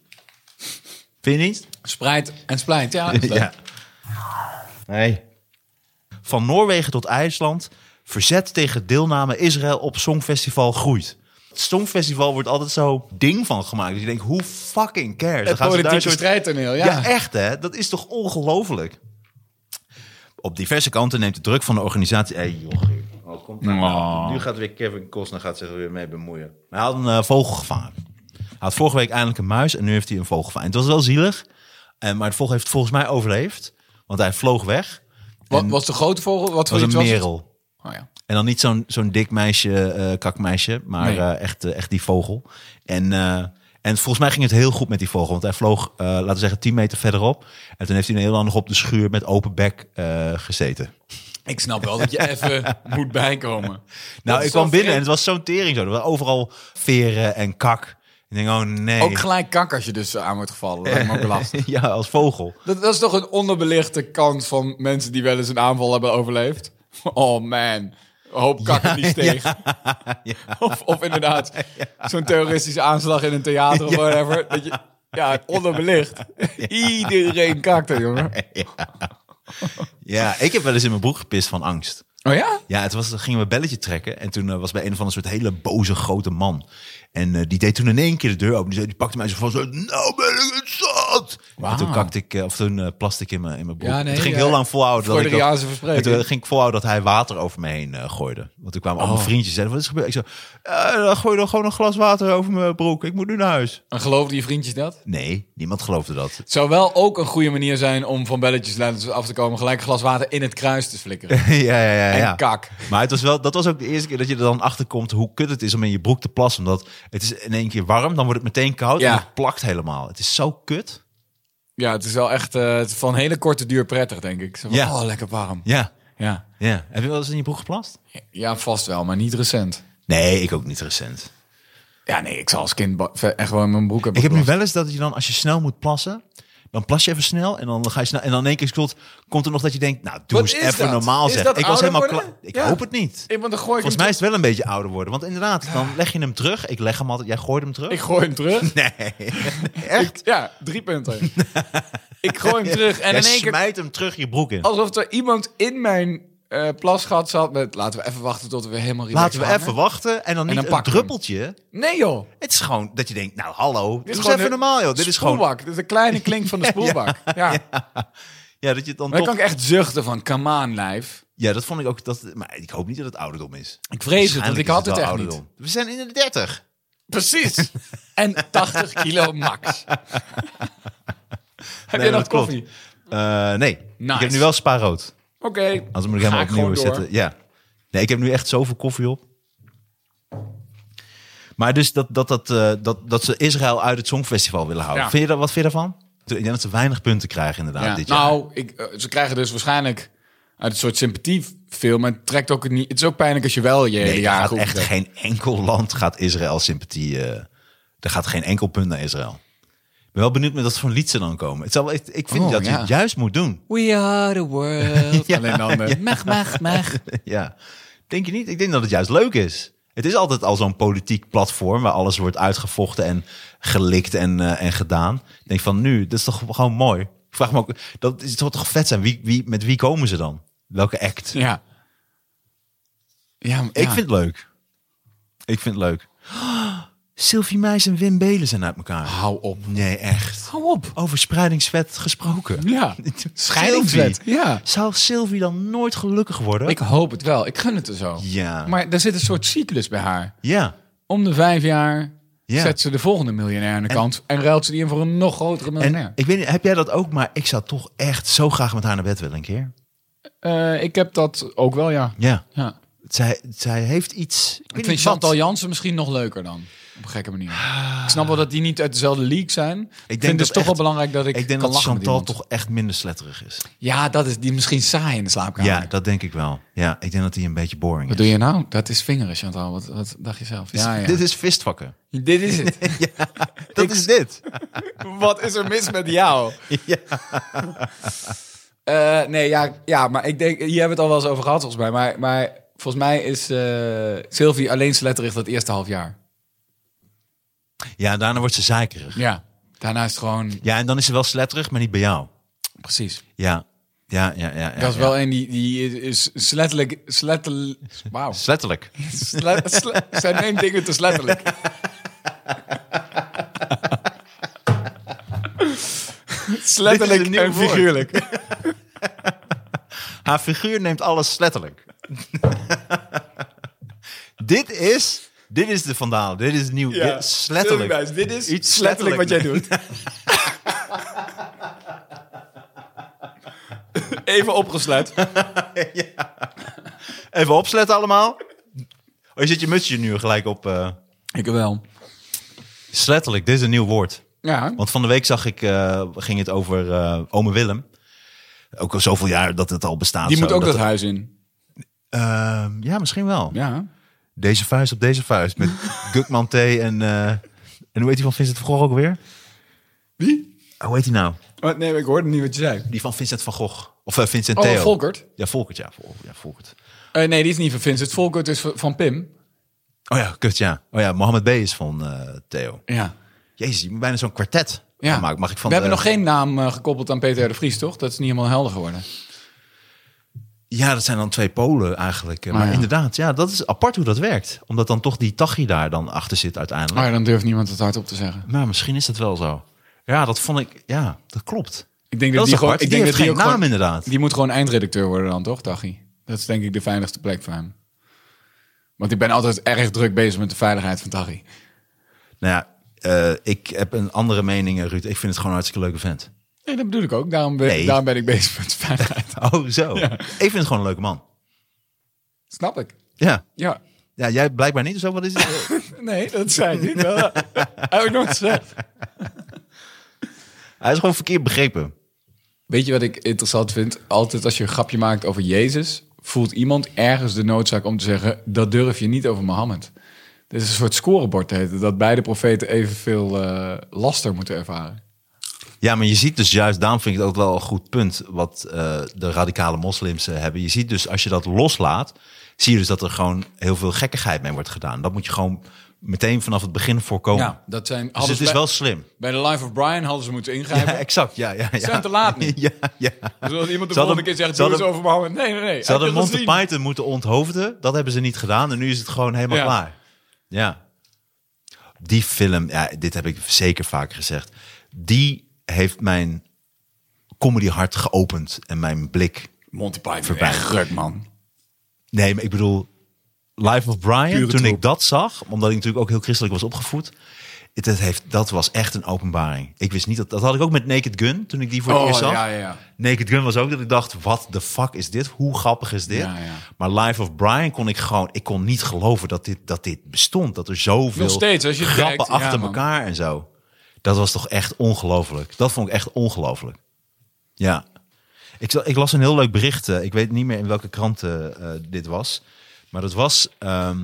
[SPEAKER 3] Vind je niet?
[SPEAKER 4] Spreidt en splijt, ja.
[SPEAKER 3] [LAUGHS]
[SPEAKER 4] dat Ah, is leuk.
[SPEAKER 3] Nee. Van Noorwegen tot IJsland. Verzet tegen deelname Israël op Songfestival groeit. Het Songfestival wordt altijd zo ding van gemaakt. Dus je denkt, hoe fucking cares? Dan
[SPEAKER 4] Het
[SPEAKER 3] gaan ze daar
[SPEAKER 4] politieke
[SPEAKER 3] een soort-
[SPEAKER 4] strijdtoneel, ja.
[SPEAKER 3] Ja. echt hè? Dat is toch ongelooflijk? Op diverse kanten neemt de druk van de organisatie... Hey, jochie. Oh, komt nou.
[SPEAKER 4] Oh.
[SPEAKER 3] Nu gaat weer Kevin Costner gaat zich er weer mee bemoeien. Hij had een eh, vogel gevangen. Hij had vorige week eindelijk een muis en nu heeft hij een vogel gevangen. Het was wel zielig, en, maar het vogel heeft het volgens mij overleefd. Want hij vloog weg.
[SPEAKER 4] Wat was de grote vogel? Wat
[SPEAKER 3] Het
[SPEAKER 4] voor
[SPEAKER 3] was
[SPEAKER 4] iets
[SPEAKER 3] een
[SPEAKER 4] was het?
[SPEAKER 3] merel.
[SPEAKER 4] Oh, ja.
[SPEAKER 3] En dan niet zo'n zo'n dik meisje, eh, kakmeisje, maar
[SPEAKER 4] Nee.
[SPEAKER 3] eh, echt, eh, echt die vogel. En, eh, en volgens mij ging het heel goed met die vogel. Want hij vloog, eh, laten we zeggen, 10 meter verderop. En toen heeft hij heel handig op de schuur met open bek eh, gezeten.
[SPEAKER 4] Ik snap wel dat
[SPEAKER 3] [LAUGHS]
[SPEAKER 4] je even moet bijkomen.
[SPEAKER 3] Nou,
[SPEAKER 4] is
[SPEAKER 3] ik kwam
[SPEAKER 4] zo
[SPEAKER 3] binnen en het
[SPEAKER 4] vreemd.
[SPEAKER 3] was zo'n tering zo. Er waren overal veren en kak. Ik denk, oh nee.
[SPEAKER 4] Ook gelijk kak als je dus aan wordt gevallen. Dat lijkt me ook lastig.
[SPEAKER 3] [LAUGHS] ja, als vogel.
[SPEAKER 4] Dat, dat is toch een onderbelichte kant van mensen die wel eens een aanval hebben overleefd? Oh man, een hoop kakken die steeg. [LAUGHS] Of, of inderdaad, zo'n terroristische aanslag in een theater of whatever. Dat je, ja, onderbelicht. Iedereen kakte, jongen.
[SPEAKER 3] Ja, ik heb wel eens in mijn broek gepist van angst.
[SPEAKER 4] Oh ja?
[SPEAKER 3] Ja, het was, dan gingen we een belletje trekken. En toen eh, was bij een van een soort hele boze grote man. En eh, die deed toen in één keer de deur open. Die, zei, die pakte mij zo van, zo, nou ben ik het zat. En toen kakte ik, eh, of toen eh, plaste ik in mijn, in mijn broek.
[SPEAKER 4] Ja, nee,
[SPEAKER 3] toen ging ik
[SPEAKER 4] ja.
[SPEAKER 3] heel lang volhouden. Dat ik dat-
[SPEAKER 4] Freudiaanse verspreking.
[SPEAKER 3] En toen ging ik volhouden dat hij water over me heen eh, gooide. Want toen kwamen al
[SPEAKER 4] Oh.
[SPEAKER 3] mijn vriendjes en zeiden, wat is er gebeurd? Ik zo, eh, dan gooi je dan gewoon een glas water over mijn broek. Ik moet nu naar huis.
[SPEAKER 4] En geloofden je vriendjes dat?
[SPEAKER 3] Nee, niemand geloofde dat. [LAUGHS]
[SPEAKER 4] Het zou wel ook een goede manier zijn om van belletjes leiders af te komen. Gelijk een glas water in het kruis te flikkeren.
[SPEAKER 3] ja, ja, ja. ja.
[SPEAKER 4] En kak.
[SPEAKER 3] Maar het was wel, dat was ook de eerste keer dat je er dan achter komt hoe kut het is om in je broek te plassen. Omdat het is in één keer warm, dan wordt het meteen koud
[SPEAKER 4] Ja.
[SPEAKER 3] en het plakt helemaal. Het is zo kut.
[SPEAKER 4] Ja, het is wel echt eh, het is van hele korte duur prettig, denk ik. Zo van,
[SPEAKER 3] Ja.
[SPEAKER 4] Oh, lekker warm.
[SPEAKER 3] Ja.
[SPEAKER 4] Ja.
[SPEAKER 3] ja. Heb je wel eens in je broek geplast?
[SPEAKER 4] ja, vast wel, maar niet recent.
[SPEAKER 3] Nee, ik ook niet recent.
[SPEAKER 4] Ja, nee, ik zal als kind ba- ver- echt wel in mijn broek hebben
[SPEAKER 3] Ik heb nu
[SPEAKER 4] geplast.
[SPEAKER 3] wel eens dat je dan, als je snel moet plassen, dan plas je even snel en dan ga je snel. En dan in één keer komt, komt er nog dat je denkt, nou doe
[SPEAKER 4] Wat
[SPEAKER 3] eens
[SPEAKER 4] is
[SPEAKER 3] even
[SPEAKER 4] dat?
[SPEAKER 3] normaal
[SPEAKER 4] Is
[SPEAKER 3] zeg.
[SPEAKER 4] dat
[SPEAKER 3] ik was
[SPEAKER 4] ouder
[SPEAKER 3] helemaal
[SPEAKER 4] worden?
[SPEAKER 3] klaar. Ik
[SPEAKER 4] Ja.
[SPEAKER 3] hoop het niet.
[SPEAKER 4] Ik, want dan gooi ik,
[SPEAKER 3] Volgens
[SPEAKER 4] hem
[SPEAKER 3] mij is het wel een beetje ouder worden. Want inderdaad, dan leg je hem terug. Ik leg hem altijd. Jij gooit hem terug.
[SPEAKER 4] terug. ik gooi hem terug. [LAUGHS]
[SPEAKER 3] Nee. Echt?
[SPEAKER 4] Ja, drie
[SPEAKER 3] [LAUGHS]
[SPEAKER 4] punten. ik gooi hem terug en
[SPEAKER 3] Jij
[SPEAKER 4] in één keer Oh,
[SPEAKER 3] smijt hem terug je broek in.
[SPEAKER 4] alsof er iemand in mijn eh, plasgat zat met... Laten we even wachten tot we weer helemaal relaxed
[SPEAKER 3] Laten we
[SPEAKER 4] hangen.
[SPEAKER 3] even wachten en dan niet
[SPEAKER 4] dan
[SPEAKER 3] een
[SPEAKER 4] pak hem.
[SPEAKER 3] druppeltje.
[SPEAKER 4] Nee joh.
[SPEAKER 3] Het is gewoon dat je denkt, nou hallo, dit is
[SPEAKER 4] gewoon
[SPEAKER 3] even
[SPEAKER 4] een
[SPEAKER 3] normaal joh. Dit is gewoon,
[SPEAKER 4] spoelbak. Dit is een kleine klink
[SPEAKER 3] [LAUGHS]
[SPEAKER 4] van de spoelbak. Ja.
[SPEAKER 3] ja, dat je dan
[SPEAKER 4] Maar dan
[SPEAKER 3] toch,
[SPEAKER 4] kan ik echt zuchten van, come on, lijf.
[SPEAKER 3] ja, dat vond ik ook, dat, maar ik hoop niet dat het ouderdom is.
[SPEAKER 4] Ik vrees het, want
[SPEAKER 3] Waarschijnlijk
[SPEAKER 4] ik had
[SPEAKER 3] is
[SPEAKER 4] het echt
[SPEAKER 3] wel
[SPEAKER 4] niet.
[SPEAKER 3] We zijn in de 30.
[SPEAKER 4] Precies.
[SPEAKER 3] [LAUGHS]
[SPEAKER 4] En 80 kilo max. Heb
[SPEAKER 3] Nee,
[SPEAKER 4] je nog
[SPEAKER 3] dat klopt.
[SPEAKER 4] koffie?
[SPEAKER 3] Eh, nee,
[SPEAKER 4] Nice.
[SPEAKER 3] ik heb nu wel spaarrood.
[SPEAKER 4] Oké.
[SPEAKER 3] Anders moet ik
[SPEAKER 4] Ga
[SPEAKER 3] helemaal
[SPEAKER 4] gewoon
[SPEAKER 3] opnieuw
[SPEAKER 4] door.
[SPEAKER 3] zetten. Ja. Nee, ik heb nu echt zoveel koffie op. Maar dus dat, dat, dat, eh, dat, dat ze Israël uit het Songfestival willen houden.
[SPEAKER 4] Ja.
[SPEAKER 3] Vind je dat, wat vind je daarvan? Ik denk dat ze weinig punten krijgen inderdaad
[SPEAKER 4] Ja.
[SPEAKER 3] dit jaar.
[SPEAKER 4] Nou, ik, eh, ze krijgen dus waarschijnlijk uit een soort sympathiefilm. En het trekt ook niet. Het is ook pijnlijk als je wel je hele
[SPEAKER 3] Nee, er
[SPEAKER 4] jaar
[SPEAKER 3] gaat
[SPEAKER 4] goed
[SPEAKER 3] echt geen enkel land gaat Israël sympathie. eh, er gaat geen enkel punt naar Israël. Ik ben wel benieuwd met wat voor lied ze dan komen. Het zal, ik, ik vind
[SPEAKER 4] Oh,
[SPEAKER 3] dat je
[SPEAKER 4] ja.
[SPEAKER 3] het juist moet doen.
[SPEAKER 4] We are the [LAUGHS] world.
[SPEAKER 3] Ja.
[SPEAKER 4] Alleen dan. eh, Mag, mag, mag.
[SPEAKER 3] [LAUGHS] ja. Denk je niet? Ik denk dat het juist leuk is. Het is altijd al zo'n politiek platform waar alles wordt uitgevochten en gelikt en, eh, en gedaan. Ik denk van nu, dat is toch gewoon mooi. Ik vraag me ook, dat is toch toch vet zijn. Wie, wie, met wie komen ze dan? Welke act?
[SPEAKER 4] Ja. Ja, maar-
[SPEAKER 3] Ik
[SPEAKER 4] ja.
[SPEAKER 3] vind het leuk. Ik vind het leuk. [GASPS] Sylvie Meijs en Wim Belen zijn uit elkaar.
[SPEAKER 4] Hou op.
[SPEAKER 3] Nee, echt.
[SPEAKER 4] Hou op.
[SPEAKER 3] Over spreidingswet gesproken.
[SPEAKER 4] Ja. Scheidingswet,
[SPEAKER 3] Sylvie.
[SPEAKER 4] ja.
[SPEAKER 3] Zou Sylvie dan nooit gelukkig worden?
[SPEAKER 4] Ik hoop het wel. Ik gun het er zo.
[SPEAKER 3] Ja.
[SPEAKER 4] Maar er zit een soort cyclus bij haar.
[SPEAKER 3] Ja.
[SPEAKER 4] Om de vijf jaar
[SPEAKER 3] Ja.
[SPEAKER 4] zet ze de volgende miljonair aan de kant. En ruilt ze die in voor een nog grotere
[SPEAKER 3] En
[SPEAKER 4] miljonair.
[SPEAKER 3] ik weet niet, heb jij dat ook? Maar ik zou toch echt zo graag met haar naar bed willen een keer.
[SPEAKER 4] Eh, ik heb dat ook wel, ja.
[SPEAKER 3] Ja.
[SPEAKER 4] ja.
[SPEAKER 3] Zij, zij heeft iets... Ik, weet
[SPEAKER 4] Ik
[SPEAKER 3] niet
[SPEAKER 4] vind
[SPEAKER 3] wat.
[SPEAKER 4] Chantal Jansen misschien nog leuker dan. Op een gekke manier. Ik snap wel dat die niet uit dezelfde league zijn.
[SPEAKER 3] denk
[SPEAKER 4] Ik vind het
[SPEAKER 3] dat
[SPEAKER 4] dus toch
[SPEAKER 3] echt-
[SPEAKER 4] wel belangrijk dat ik,
[SPEAKER 3] Ik, denk
[SPEAKER 4] kan
[SPEAKER 3] dat
[SPEAKER 4] lachen met
[SPEAKER 3] Chantal
[SPEAKER 4] iemand.
[SPEAKER 3] toch echt minder sletterig is.
[SPEAKER 4] Ja, dat is die misschien saai in de slaapkamer.
[SPEAKER 3] Ja, dat denk ik wel. Ja, ik denk dat hij een beetje boring
[SPEAKER 4] Wat
[SPEAKER 3] is.
[SPEAKER 4] doe je nou? Dat is vingeren, Chantal. Wat, wat dacht je zelf?
[SPEAKER 3] Dit is-
[SPEAKER 4] Ja, ja.
[SPEAKER 3] Dit is vistvakken.
[SPEAKER 4] Dit is het.
[SPEAKER 3] [LAUGHS] Dat is dit.
[SPEAKER 4] Wat is er mis met jou?
[SPEAKER 3] [LAUGHS] Ja.
[SPEAKER 4] Eh, nee, ja, ja, maar ik denk, hier hebben we het al wel eens over gehad volgens mij. Maar, maar volgens mij is eh, Sylvie alleen sletterig dat eerste half jaar.
[SPEAKER 3] Ja, daarna wordt ze zeikerig.
[SPEAKER 4] Ja. Daarna is het gewoon,
[SPEAKER 3] Ja, en dan is ze wel sletterig, maar niet bij jou.
[SPEAKER 4] precies.
[SPEAKER 3] Ja, ja, ja. ja, ja
[SPEAKER 4] dat is
[SPEAKER 3] ja.
[SPEAKER 4] wel een die, die is slettelijk, slettel, wauw.
[SPEAKER 3] Sletterlijk.
[SPEAKER 4] Sle- sle- Zij neemt dingen te [LAUGHS] sletterlijk.
[SPEAKER 3] Dit is een
[SPEAKER 4] sletterlijk
[SPEAKER 3] nieuw
[SPEAKER 4] en
[SPEAKER 3] woord.
[SPEAKER 4] figuurlijk.
[SPEAKER 3] Haar figuur neemt alles letterlijk. [LAUGHS] dit is... Dit is de vandalen. Dit is nieuw.
[SPEAKER 4] Ja.
[SPEAKER 3] Dit is letterlijk.
[SPEAKER 4] Sylvie Buijs, Dit is
[SPEAKER 3] Iets
[SPEAKER 4] iets letterlijk wat jij doet. [LAUGHS] Even opgesluit.
[SPEAKER 3] Even opsletten allemaal. Oh, je zit je mutsje nu gelijk op. eh
[SPEAKER 4] Ik wel.
[SPEAKER 3] Sletterlijk, dit is een nieuw woord.
[SPEAKER 4] Ja.
[SPEAKER 3] Want van de week zag ik, eh, ging het over eh ome Willem. Ook al zoveel jaar dat het al bestaat.
[SPEAKER 4] Die
[SPEAKER 3] zo,
[SPEAKER 4] moet ook dat
[SPEAKER 3] het-
[SPEAKER 4] huis in.
[SPEAKER 3] Ehm, ja, misschien wel.
[SPEAKER 4] Ja.
[SPEAKER 3] Deze vuist op deze vuist.
[SPEAKER 4] [LAUGHS]
[SPEAKER 3] Met Gukman T en... eh, en hoe heet die van Vincent van Gogh ook weer?
[SPEAKER 4] Wie?
[SPEAKER 3] Hoe heet die nou?
[SPEAKER 4] Oh, nee, ik hoorde niet wat je zei.
[SPEAKER 3] Die van Vincent van Gogh. Of eh, Vincent
[SPEAKER 4] Oh,
[SPEAKER 3] Theo.
[SPEAKER 4] Volkert.
[SPEAKER 3] Ja, Volkert, ja. Vol- ja Volkert.
[SPEAKER 4] Eh, nee, die is niet van Vincent. Volkert is van- van Pim.
[SPEAKER 3] Oh ja, kut, ja. Oh ja, Mohammed B. is van eh, Theo.
[SPEAKER 4] Ja.
[SPEAKER 3] Jezus, je moet bijna zo'n kwartet
[SPEAKER 4] ja.
[SPEAKER 3] maken. Mag ik van
[SPEAKER 4] We hebben
[SPEAKER 3] de-
[SPEAKER 4] nog geen naam eh, gekoppeld aan Peter R. de Vries, toch? Dat is niet helemaal helder geworden.
[SPEAKER 3] Ja, dat zijn dan twee polen eigenlijk. Eh,
[SPEAKER 4] Ah,
[SPEAKER 3] maar
[SPEAKER 4] ja.
[SPEAKER 3] inderdaad, ja, dat is apart hoe dat werkt. Omdat dan toch die tachi daar dan achter zit uiteindelijk.
[SPEAKER 4] Maar dan durft niemand het hardop te zeggen.
[SPEAKER 3] Maar misschien is dat wel zo. Ja, dat vond ik... Ja, dat klopt.
[SPEAKER 4] Ik
[SPEAKER 3] Dat
[SPEAKER 4] denk dat,
[SPEAKER 3] is
[SPEAKER 4] die gewoon.
[SPEAKER 3] apart.
[SPEAKER 4] Ik denk
[SPEAKER 3] Die
[SPEAKER 4] dat
[SPEAKER 3] heeft geen
[SPEAKER 4] ook
[SPEAKER 3] naam
[SPEAKER 4] gewoon-
[SPEAKER 3] inderdaad.
[SPEAKER 4] Die moet gewoon eindredacteur worden dan, toch, Dagie? Dat is denk ik de veiligste plek voor hem. Want ik ben altijd erg druk bezig met de veiligheid van Dagie.
[SPEAKER 3] Nou ja, eh, ik heb een andere mening, eh, Ruud. Ik vind het gewoon een hartstikke leuke vent. [LAUGHS]
[SPEAKER 4] Nee, dat bedoel ik ook. Daarom ben,
[SPEAKER 3] Nee.
[SPEAKER 4] daarom ben ik bezig met de veiligheid.
[SPEAKER 3] Oh, zo. Ik vind het gewoon een leuke man.
[SPEAKER 4] Snap ik.
[SPEAKER 3] Ja.
[SPEAKER 4] Ja.
[SPEAKER 3] Ja, jij blijkbaar niet. Zo, wat is het?
[SPEAKER 4] Nee, dat zei ik [LAUGHS] niet. Dat heb ik nooit gezegd.
[SPEAKER 3] [LAUGHS] Hij is gewoon verkeerd begrepen.
[SPEAKER 4] Weet je wat ik interessant vind? Altijd als je een grapje maakt over Jezus, voelt iemand ergens de noodzaak om te zeggen: dat durf je niet over Mohammed. Dit is een soort scorebord, heet het, dat beide profeten evenveel eh, laster moeten ervaren.
[SPEAKER 3] Ja, maar je ziet dus juist, daarom vind ik het ook wel een goed punt wat eh, de radicale moslims eh, hebben. Je ziet dus als je dat loslaat, zie je dus dat er gewoon heel veel gekkigheid mee wordt gedaan. Dat moet je gewoon meteen vanaf het begin voorkomen.
[SPEAKER 4] Ja, dat zijn.
[SPEAKER 3] dus
[SPEAKER 4] hadden
[SPEAKER 3] het
[SPEAKER 4] ze
[SPEAKER 3] is
[SPEAKER 4] bij,
[SPEAKER 3] wel slim.
[SPEAKER 4] bij de Life of Brian hadden ze moeten ingrijpen.
[SPEAKER 3] Ja, exact. Ja, ja, ja.
[SPEAKER 4] zijn te
[SPEAKER 3] [LAUGHS]
[SPEAKER 4] laat nu.
[SPEAKER 3] Ja, ja.
[SPEAKER 4] Dus als iemand de
[SPEAKER 3] Ze hadden-
[SPEAKER 4] volgende keer zegt:
[SPEAKER 3] ze
[SPEAKER 4] doe eens
[SPEAKER 3] hadden-
[SPEAKER 4] over Mohammed. Nee, nee, nee.
[SPEAKER 3] Ze hadden
[SPEAKER 4] heb je
[SPEAKER 3] Monty
[SPEAKER 4] gezien?
[SPEAKER 3] Python moeten onthoofden. Dat hebben ze niet gedaan. En nu is het gewoon helemaal
[SPEAKER 4] Ja.
[SPEAKER 3] klaar. Ja. Die film, ja, dit heb ik zeker vaak gezegd. Die heeft mijn comedy hart geopend en mijn blik.
[SPEAKER 4] Monty Python.
[SPEAKER 3] Voorbij.
[SPEAKER 4] Echt gruk, man.
[SPEAKER 3] Nee, maar ik bedoel, Life of Brian,
[SPEAKER 4] Pure
[SPEAKER 3] toen ik
[SPEAKER 4] troep.
[SPEAKER 3] dat zag, omdat ik natuurlijk ook heel christelijk was opgevoed. Het, het heeft, dat was echt een openbaring. Ik wist niet dat. Dat had ik ook met Naked Gun toen ik die voor het
[SPEAKER 4] Oh,
[SPEAKER 3] eerst zag.
[SPEAKER 4] ja, ja, ja.
[SPEAKER 3] Naked Gun was ook dat ik dacht: wat de fuck is dit? Hoe grappig is dit?
[SPEAKER 4] Ja, ja.
[SPEAKER 3] Maar Life of Brian kon ik gewoon. Ik kon niet geloven dat dit, dat dit bestond. Dat er zoveel
[SPEAKER 4] Nog steeds, als je het
[SPEAKER 3] grappen
[SPEAKER 4] kijkt, ja,
[SPEAKER 3] achter
[SPEAKER 4] man.
[SPEAKER 3] elkaar en zo. Dat was toch echt ongelooflijk. Dat vond ik echt ongelooflijk. Ja. Ik, zal- ik las een heel leuk bericht. eh, Ik weet niet meer in welke krant eh, eh, dit was. Maar dat was ehm,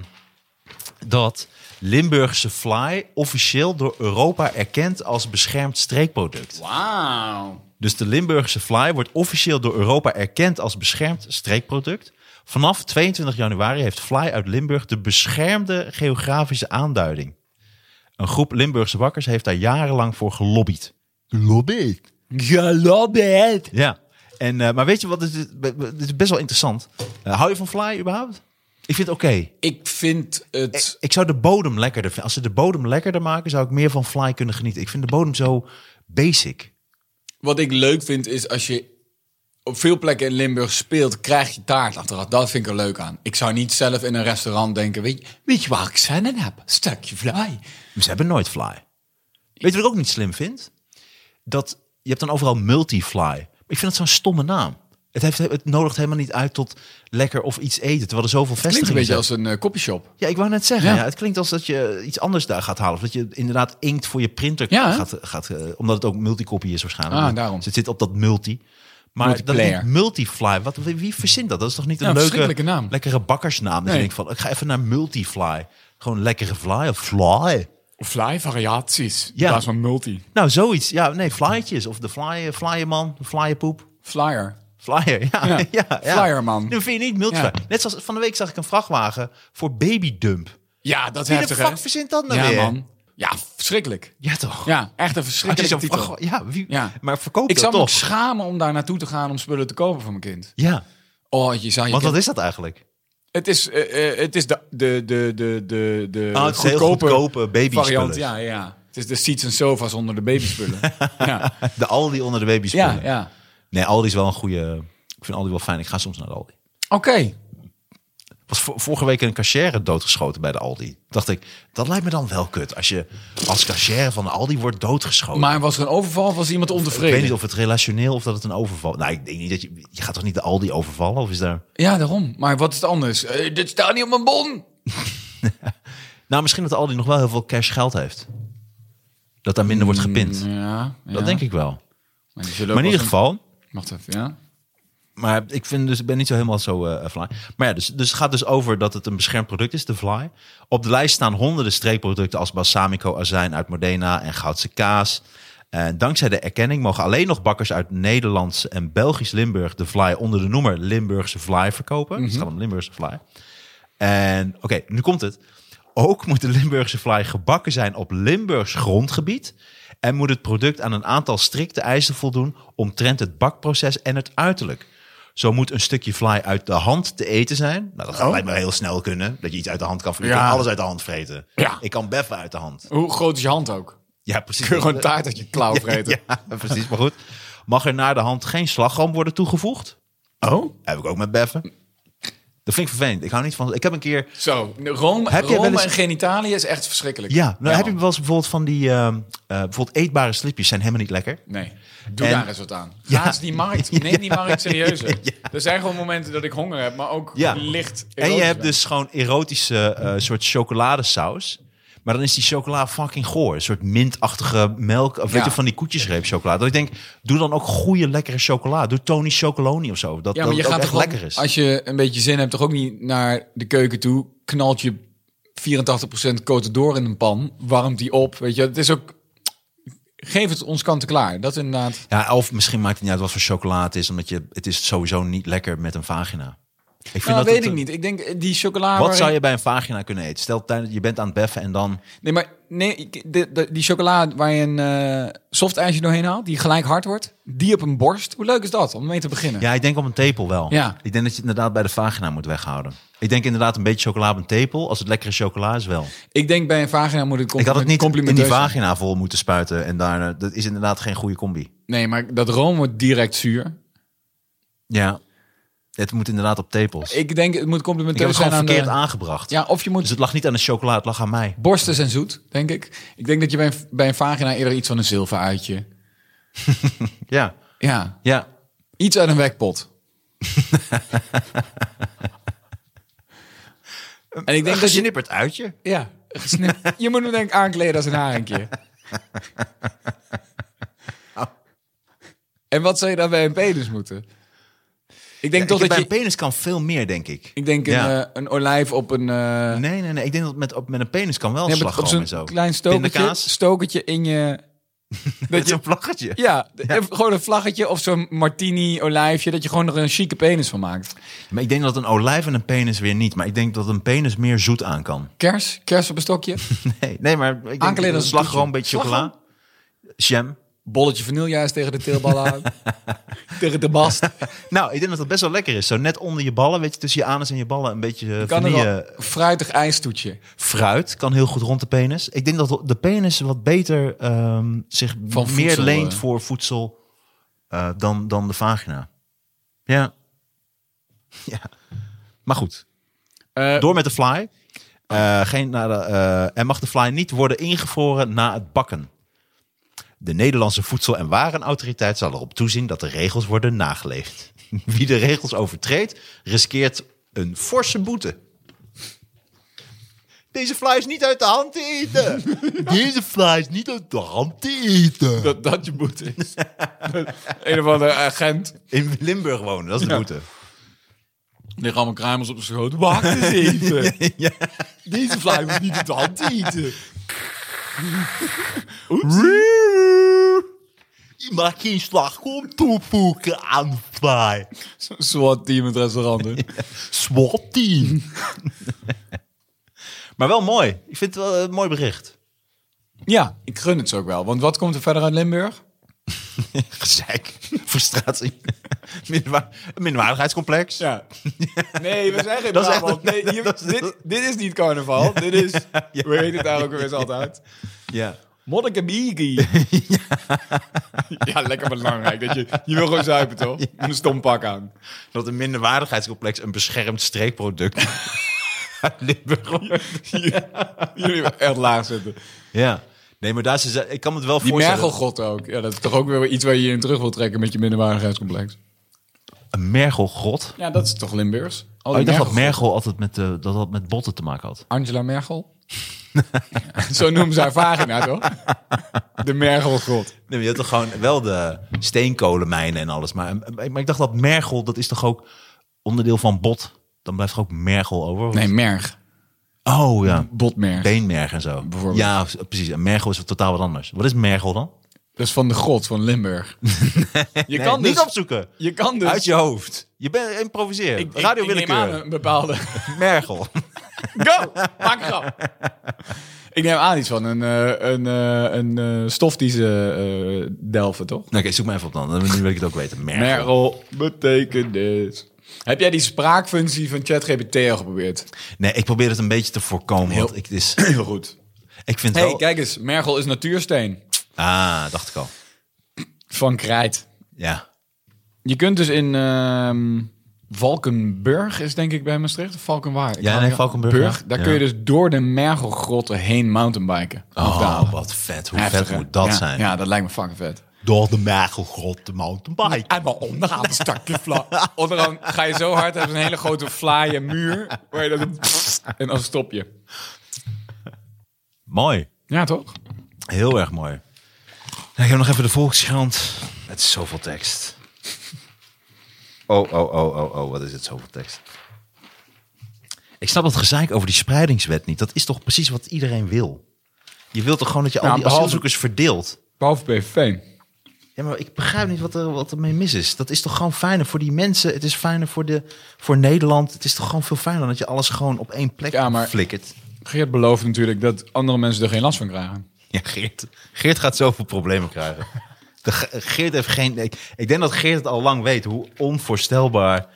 [SPEAKER 3] dat Limburgse fly officieel door Europa erkend als beschermd streekproduct.
[SPEAKER 4] Wauw.
[SPEAKER 3] Dus de Limburgse fly wordt officieel door Europa erkend als beschermd streekproduct. Vanaf 22 januari heeft fly uit Limburg de beschermde geografische aanduiding. Een groep Limburgse bakkers heeft daar jarenlang voor gelobbyd. Gelobbyd?
[SPEAKER 4] Galabed.
[SPEAKER 3] Ja. En, eh, maar weet je wat, het is, het is best wel interessant. Eh, hou je van fly überhaupt? Ik vind het oké.
[SPEAKER 4] Ik vind het.
[SPEAKER 3] Ik zou de bodem lekkerder vinden. Als ze de bodem lekkerder maken, zou ik meer van fly kunnen genieten. Ik vind de bodem zo basic.
[SPEAKER 4] Wat ik leuk vind is als je op veel plekken in Limburg speelt, krijg je taart achteraf. Dat vind ik er leuk aan. Ik zou niet zelf in een restaurant denken: weet je, weet je waar ik zin in heb? Stukje fly.
[SPEAKER 3] Ze hebben nooit fly. Weet je wat ik ook niet slim vind? Dat je hebt dan overal multi-fly. Maar Ik vind dat zo'n stomme naam. Het, heeft, het nodigt helemaal niet uit tot lekker of iets eten. Terwijl er zoveel
[SPEAKER 4] Klinkt een
[SPEAKER 3] vestigingen
[SPEAKER 4] beetje
[SPEAKER 3] zijn.
[SPEAKER 4] als een eh, koffieshop.
[SPEAKER 3] Ja, ik wou net zeggen. Ja.
[SPEAKER 4] Ja.
[SPEAKER 3] het klinkt als dat je iets anders daar gaat halen. Of dat je inderdaad inkt voor je printer
[SPEAKER 4] Ja, hè?
[SPEAKER 3] gaat, gaat... eh, Omdat het ook multicopy is waarschijnlijk.
[SPEAKER 4] Ah,
[SPEAKER 3] Dus
[SPEAKER 4] daarom.
[SPEAKER 3] Het zit op dat multi. Maar dat
[SPEAKER 4] Multiplayer.
[SPEAKER 3] niet Multifly, wat, wie wie verzint dat? Dat is toch niet een
[SPEAKER 4] Ja, een
[SPEAKER 3] leuke,
[SPEAKER 4] verschrikkelijke naam.
[SPEAKER 3] lekkere bakkersnaam? Dus
[SPEAKER 4] Nee.
[SPEAKER 3] je denkt van, ik ga even naar Multifly. Gewoon lekkere fly of fly.
[SPEAKER 4] Fly variaties.
[SPEAKER 3] Ja.
[SPEAKER 4] In plaats van multi.
[SPEAKER 3] Nou, zoiets. Ja, nee, flyertjes. Of de flyer, flyerman, de flyerpoep.
[SPEAKER 4] Flyer.
[SPEAKER 3] Flyer, [LAUGHS] ja. ja.
[SPEAKER 4] Ja,
[SPEAKER 3] ja,
[SPEAKER 4] flyerman.
[SPEAKER 3] Nu vind je niet multifly.
[SPEAKER 4] Ja.
[SPEAKER 3] Net zoals van de week zag ik een vrachtwagen voor babydump.
[SPEAKER 4] Ja, dat is
[SPEAKER 3] Wie de
[SPEAKER 4] heftig, hè?
[SPEAKER 3] fuck verzint dat nou
[SPEAKER 4] Ja,
[SPEAKER 3] weer?
[SPEAKER 4] man. Ja, verschrikkelijk.
[SPEAKER 3] Ja, toch?
[SPEAKER 4] Ja, echt een
[SPEAKER 3] Had je
[SPEAKER 4] verschrikkelijke
[SPEAKER 3] zo'n
[SPEAKER 4] titel.
[SPEAKER 3] vracht- ja, wie,
[SPEAKER 4] Ja.
[SPEAKER 3] maar verkoop
[SPEAKER 4] ik
[SPEAKER 3] dat
[SPEAKER 4] zou me ook
[SPEAKER 3] toch?
[SPEAKER 4] schamen om daar naartoe te gaan om spullen te kopen voor mijn kind.
[SPEAKER 3] Ja,
[SPEAKER 4] Oh, je zou
[SPEAKER 3] want
[SPEAKER 4] je kind-
[SPEAKER 3] wat is dat eigenlijk? [LAUGHS]
[SPEAKER 4] Het is, eh, eh, het is de, de, de, de, de, de
[SPEAKER 3] Ah, het is heel goedkope babyspullen.
[SPEAKER 4] variant. Ja, ja. Het is de seats en sofas onder de
[SPEAKER 3] [LAUGHS]
[SPEAKER 4] babyspullen. ja.
[SPEAKER 3] De Aldi onder de baby's.
[SPEAKER 4] ja, ja.
[SPEAKER 3] Nee, Aldi is wel een goede... Ik vind Aldi wel fijn. Ik ga soms naar de Aldi.
[SPEAKER 4] Oké.
[SPEAKER 3] was vo- vorige week een cashier doodgeschoten bij de Aldi. Dacht ik, dat lijkt me dan wel kut. Als je als cashier van de Aldi wordt doodgeschoten.
[SPEAKER 4] Maar was er een overval of was iemand
[SPEAKER 3] ik
[SPEAKER 4] ontevreden?
[SPEAKER 3] weet niet of het relationeel of dat het een overval... Nou, ik denk niet dat je... Je gaat toch niet de Aldi overvallen? Of is daar...
[SPEAKER 4] Ja, daarom. Maar wat is het anders? Eh, dit staat niet op mijn bon.
[SPEAKER 3] Nou, misschien dat de Aldi nog wel heel veel cash geld heeft. Dat daar minder wordt gepind.
[SPEAKER 4] Ja, ja.
[SPEAKER 3] Dat denk ik wel.
[SPEAKER 4] Maar, die zullen ook
[SPEAKER 3] Maar in ieder
[SPEAKER 4] wel
[SPEAKER 3] geval...
[SPEAKER 4] eens- Wacht even, ja.
[SPEAKER 3] Maar ik vind dus, ik ben niet zo helemaal zo eh, fly. Maar ja, dus, dus het gaat dus over dat het een beschermd product is, de fly. Op de lijst staan honderden streekproducten als balsamico, azijn uit Modena en goudse kaas. En dankzij de erkenning mogen alleen nog bakkers uit Nederlands en Belgisch Limburg de fly onder de noemer Limburgse fly verkopen. Dus het gaat om Limburgse fly. En oké, nu komt het. Ook moet de Limburgse fly gebakken zijn op Limburgs grondgebied. En moet het product aan een aantal strikte eisen voldoen omtrent het bakproces en het uiterlijk. Zo moet een stukje fly uit de hand te eten zijn. Nou, dat gaat lijkt me heel snel kunnen. Dat je iets uit de hand kan vreten.
[SPEAKER 4] Oh. Ja.
[SPEAKER 3] Ik kan alles uit de hand vreten.
[SPEAKER 4] Ja.
[SPEAKER 3] Ik kan beffen uit de hand.
[SPEAKER 4] Hoe groot is je hand ook?
[SPEAKER 3] [LAUGHS] Ja, precies.
[SPEAKER 4] Kun je gewoon een taart uit je klauw vreten?
[SPEAKER 3] [LAUGHS] Ja, precies. Maar goed. Mag er naar de hand geen slagroom worden toegevoegd?
[SPEAKER 4] Oh?
[SPEAKER 3] Heb ik ook met beffen. Dat vind ik vervelend. Ik hou niet van... Ik heb een keer...
[SPEAKER 4] Zo, Rome,
[SPEAKER 3] Heb jij
[SPEAKER 4] Rome
[SPEAKER 3] wel eens-
[SPEAKER 4] en genitaliën is echt verschrikkelijk.
[SPEAKER 3] Ja, nou heb je
[SPEAKER 4] man.
[SPEAKER 3] wel eens bijvoorbeeld van die ehm, eh, bijvoorbeeld eetbare slipjes zijn helemaal niet lekker.
[SPEAKER 4] Nee, doe
[SPEAKER 3] En-
[SPEAKER 4] daar eens wat aan.
[SPEAKER 3] [LAUGHS] Ja.
[SPEAKER 4] Ga eens die markt, neem die
[SPEAKER 3] [LAUGHS]
[SPEAKER 4] markt serieuzer. Er zijn gewoon momenten dat ik honger heb, maar ook
[SPEAKER 3] Ja.
[SPEAKER 4] licht
[SPEAKER 3] en je
[SPEAKER 4] erotisch
[SPEAKER 3] hebt
[SPEAKER 4] ben.
[SPEAKER 3] dus gewoon erotische eh,
[SPEAKER 4] Mm.
[SPEAKER 3] soort chocoladesaus. Maar dan is die chocola fucking goor. Een soort mintachtige melk. Of weet
[SPEAKER 4] Ja.
[SPEAKER 3] je, van die koetjesreep chocola. Dat ik denk, doe dan ook goede lekkere chocola. Doe Tony Chocoloni of zo. Dat,
[SPEAKER 4] Ja, maar je
[SPEAKER 3] dat het
[SPEAKER 4] gaat
[SPEAKER 3] ook
[SPEAKER 4] toch
[SPEAKER 3] echt
[SPEAKER 4] ook-
[SPEAKER 3] lekker is.
[SPEAKER 4] Als je een beetje zin hebt, toch ook niet naar de keuken toe. Knalt je 84% koten door in een pan. Warmt die op. Weet je, het is ook. Geef het ons kant en klaar. Dat inderdaad.
[SPEAKER 3] Ja, of misschien maakt het niet uit wat voor chocola het is. Omdat je, het is sowieso niet lekker met een vagina. Ik vind
[SPEAKER 4] Nou,
[SPEAKER 3] dat
[SPEAKER 4] dat weet
[SPEAKER 3] het-
[SPEAKER 4] ik niet. Ik denk eh, die chocola.
[SPEAKER 3] Wat
[SPEAKER 4] waarin-
[SPEAKER 3] zou je bij een vagina kunnen eten? Stel, tijdens- je bent aan het beffen en dan...
[SPEAKER 4] Nee, maar nee, ik- de, de- die chocola waar je een eh soft ijsje doorheen haalt, die gelijk hard wordt, die op een borst. Hoe leuk is dat om mee te beginnen?
[SPEAKER 3] Ja, ik denk op een tepel wel.
[SPEAKER 4] Ja.
[SPEAKER 3] Ik denk dat je het inderdaad bij de vagina moet weghouden. Ik denk inderdaad een beetje chocola op een tepel. Als het lekkere chocola is wel.
[SPEAKER 4] Ik denk bij een vagina moet het
[SPEAKER 3] Ik had het
[SPEAKER 4] compliment,
[SPEAKER 3] niet in die
[SPEAKER 4] complimenteus zijn.
[SPEAKER 3] vagina vol moeten spuiten. En daar, eh, dat is inderdaad geen goede combi.
[SPEAKER 4] Nee, maar dat room wordt direct zuur.
[SPEAKER 3] Ja. Het moet inderdaad op tepels. Ik,
[SPEAKER 4] Ik denk het moet
[SPEAKER 3] heb het
[SPEAKER 4] complimenteus
[SPEAKER 3] gewoon
[SPEAKER 4] zijn aan
[SPEAKER 3] verkeerd
[SPEAKER 4] de...
[SPEAKER 3] aangebracht.
[SPEAKER 4] Ja, of je moet
[SPEAKER 3] Dus het lag niet aan de chocola, het lag aan mij.
[SPEAKER 4] Borsten zijn zoet, denk ik. Ik denk dat je bij een, bij een vagina eerder iets van een zilveruitje.
[SPEAKER 3] Ja.
[SPEAKER 4] Ja,
[SPEAKER 3] Ja.
[SPEAKER 4] iets uit een
[SPEAKER 3] [LAUGHS]
[SPEAKER 4] wekpot. en ik denk dat je...
[SPEAKER 3] Gesnipperd uitje.
[SPEAKER 4] Ja, gesnip- je moet hem denk ik aankleden als een harenkje.
[SPEAKER 3] Oh.
[SPEAKER 4] en wat zou je dan bij een penis moeten? Ik denk toch
[SPEAKER 3] Ik- bij
[SPEAKER 4] dat je...
[SPEAKER 3] een penis kan veel meer, denk ik.
[SPEAKER 4] Ik denk een,
[SPEAKER 3] Ja.
[SPEAKER 4] eh, een olijf op een... eh,
[SPEAKER 3] Nee, nee, nee. Ik denk dat met, op, met een penis kan wel
[SPEAKER 4] nee, op- op
[SPEAKER 3] slagroom en zo.
[SPEAKER 4] zo'n klein stokertje,
[SPEAKER 3] Pindakaas.
[SPEAKER 4] stokertje in je...
[SPEAKER 3] [LAUGHS] Met zo'n vlaggetje.
[SPEAKER 4] Ja, en gewoon een vlaggetje of zo'n martini olijfje. Dat je gewoon er een chique penis van maakt.
[SPEAKER 3] Maar ik denk dat een olijf en een penis weer niet. Maar ik denk dat een penis meer zoet aan kan.
[SPEAKER 4] Kers, kers op een
[SPEAKER 3] [LAUGHS]
[SPEAKER 4] stokje.
[SPEAKER 3] Nee, nee maar ik denk
[SPEAKER 4] Aankleden als een
[SPEAKER 3] slagroom,
[SPEAKER 4] toetje.
[SPEAKER 3] een beetje chocola. Jam.
[SPEAKER 4] Bolletje vanillejuist tegen de teelballen
[SPEAKER 3] [LAUGHS]
[SPEAKER 4] aan. tegen de bast.
[SPEAKER 3] Nou, ik denk dat dat best wel lekker is. Zo net onder je ballen, weet je, tussen je anus en je ballen een beetje eh,
[SPEAKER 4] Kan er wel
[SPEAKER 3] vanille.
[SPEAKER 4] een fruitig ijstoetje.
[SPEAKER 3] Fruit kan heel goed rond de penis. Ik denk dat de penis wat beter ehm, zich
[SPEAKER 4] Van
[SPEAKER 3] meer
[SPEAKER 4] voedsel,
[SPEAKER 3] leent
[SPEAKER 4] eh.
[SPEAKER 3] voor voedsel eh, dan, dan de vagina. Ja. [LAUGHS] ja. Maar goed,
[SPEAKER 4] Eh,
[SPEAKER 3] door met de fly. nou, Eh, geen, na de, eh, en mag de fly niet worden ingevroren na het bakken. De Nederlandse Voedsel- en Warenautoriteit zal erop toezien dat de regels worden nageleefd. [LAUGHS] Wie de regels overtreedt, riskeert een forse boete. Deze fly is niet uit de hand te eten. [LAUGHS] Deze fly is niet uit de hand te eten.
[SPEAKER 4] Dat dat je boete is. een of andere agent.
[SPEAKER 3] In Limburg wonen, dat is de
[SPEAKER 4] Ja.
[SPEAKER 3] boete.
[SPEAKER 4] Liggen allemaal kruimels op de schoot. Wacht
[SPEAKER 3] [LAUGHS]
[SPEAKER 4] eens even. Deze fly moet niet op de hand eten.
[SPEAKER 3] Je maakt geen slagroom toevoegen aan fly.
[SPEAKER 4] SWAT team in het restaurant. hè?
[SPEAKER 3] SWAT team. maar wel mooi. Ik vind het wel een mooi bericht. [LAUGHS]
[SPEAKER 4] Ja, ik gun het ze ook wel. Want wat komt er verder uit Limburg?
[SPEAKER 3] Gezeik, frustratie, Minderwa- minderwaardigheidscomplex.
[SPEAKER 4] [LAUGHS] Ja. Nee, we zijn geen
[SPEAKER 3] Dat is echt
[SPEAKER 4] Brabant.
[SPEAKER 3] een-
[SPEAKER 4] [LAUGHS] Nee, hier-
[SPEAKER 3] dat is-
[SPEAKER 4] dit, dit is niet carnaval. Dit is, [LAUGHS] we heet het daar ook weer eens altijd.
[SPEAKER 3] Ja.
[SPEAKER 4] [LAUGHS] Monnikemigi. Ja, lekker belangrijk. Dat je, je wil gewoon zuipen, toch? Met een stom pak aan.
[SPEAKER 3] Dat een minderwaardigheidscomplex een beschermd streekproduct [LAUGHS] uit Limburg wordt.
[SPEAKER 4] Jullie wel echt laag zitten.
[SPEAKER 3] Ja. Nee, maar daar ze, ik kan me het wel
[SPEAKER 4] Die
[SPEAKER 3] voorstellen.
[SPEAKER 4] mergelgod ook. Ja, dat is toch ook weer iets waar je je in terug wil trekken met je minderwaardigheidscomplex.
[SPEAKER 3] Een mergelgrot.
[SPEAKER 4] Ja, dat is toch Limburgs? Al
[SPEAKER 3] Oh, ik
[SPEAKER 4] die
[SPEAKER 3] dacht dat
[SPEAKER 4] mergelgod-
[SPEAKER 3] mergel altijd met, eh, dat dat met botten te maken had.
[SPEAKER 4] Angela Mergel? [LAUGHS] Zo noemen ze haar vagina, [LAUGHS] toch? De mergelgod.
[SPEAKER 3] Nee, maar je had toch gewoon wel de steenkolenmijnen en alles. Maar, eh, maar ik dacht dat mergel, dat is toch ook onderdeel van bot? Dan blijft er ook mergel over?
[SPEAKER 4] Nee, merg.
[SPEAKER 3] Oh ja,
[SPEAKER 4] Botmerg.
[SPEAKER 3] beenmerg en zo.
[SPEAKER 4] Bijvoorbeeld.
[SPEAKER 3] Ja, precies. En mergel is totaal wat anders. Wat is mergel dan?
[SPEAKER 4] Dat is van de god van [LAUGHS] Limburg. je, kan
[SPEAKER 3] niet
[SPEAKER 4] dus,
[SPEAKER 3] opzoeken.
[SPEAKER 4] je kan dus...
[SPEAKER 3] Uit je hoofd. Je bent improviseer.
[SPEAKER 4] Ik- ik-
[SPEAKER 3] Radio
[SPEAKER 4] ik neem
[SPEAKER 3] willekeur.
[SPEAKER 4] aan een bepaalde... [LAUGHS]
[SPEAKER 3] Mergel.
[SPEAKER 4] Go! Maak een [LAUGHS] grap. Ik neem aan iets van een, eh, een, eh, een eh, stof die ze eh, delven, toch?
[SPEAKER 3] Oké, zoek maar even op dan. Dan wil ik het ook weten. Mergel.
[SPEAKER 4] Mergel betekent dit. Heb jij die spraakfunctie van ChatGPT al geprobeerd? [CLEARS THROAT]
[SPEAKER 3] Nee, ik probeer het een beetje te voorkomen. Want
[SPEAKER 4] Heel-
[SPEAKER 3] ik, het is,
[SPEAKER 4] Heel goed.
[SPEAKER 3] ik vind
[SPEAKER 4] hey,
[SPEAKER 3] wel...
[SPEAKER 4] kijk eens. Mergel is natuursteen.
[SPEAKER 3] Ah, dacht ik al.
[SPEAKER 4] Van Krijt.
[SPEAKER 3] Ja.
[SPEAKER 4] Je kunt dus in ehm, Valkenburg, is denk ik bij Maastricht, of Valkenwaard. Ik
[SPEAKER 3] Ja,
[SPEAKER 4] hou
[SPEAKER 3] nee,
[SPEAKER 4] niet-
[SPEAKER 3] Valkenburg,
[SPEAKER 4] Burg,
[SPEAKER 3] ja.
[SPEAKER 4] daar
[SPEAKER 3] Ja.
[SPEAKER 4] kun je dus door de mergelgrotten heen mountainbiken. Of
[SPEAKER 3] Oh,
[SPEAKER 4] dalen.
[SPEAKER 3] wat vet. Hoe
[SPEAKER 4] Heftig, hè?
[SPEAKER 3] vet moet dat
[SPEAKER 4] Ja,
[SPEAKER 3] zijn?
[SPEAKER 4] Ja, dat lijkt me fucking vet.
[SPEAKER 3] Door de mergelgrot de mountainbike.
[SPEAKER 4] En maar onderaan een stakje fly. [LAUGHS] Onderaan ga je zo hard, heb je een hele grote vlaaien muur. Waar je dan en dan stop je.
[SPEAKER 3] Mooi.
[SPEAKER 4] Ja, toch?
[SPEAKER 3] Heel erg mooi. Ik heb nog even de Volkskrant. Het is zoveel tekst. [LAUGHS] Oh, oh, oh, oh, oh, wat is het zoveel tekst? Ik snap dat gezeik over die spreidingswet niet. Dat is toch precies wat iedereen wil? Je wilt toch gewoon dat je al
[SPEAKER 4] Ja,
[SPEAKER 3] die
[SPEAKER 4] behalve-
[SPEAKER 3] asielzoekers verdeelt?
[SPEAKER 4] Behalve PVV.
[SPEAKER 3] Ja, maar ik begrijp niet wat er, wat er mee mis is. Dat is toch gewoon fijner voor die mensen? Het is fijner voor, de, voor Nederland? Het is toch gewoon veel fijner dat je alles gewoon op één plek
[SPEAKER 4] Ja, maar-
[SPEAKER 3] flikkert?
[SPEAKER 4] Geert belooft natuurlijk dat andere mensen er geen last van krijgen.
[SPEAKER 3] Ja, Geert, Geert gaat zoveel problemen krijgen. De, Ge- Geert heeft geen. Ik, ik denk dat Geert het al lang weet hoe onvoorstelbaar.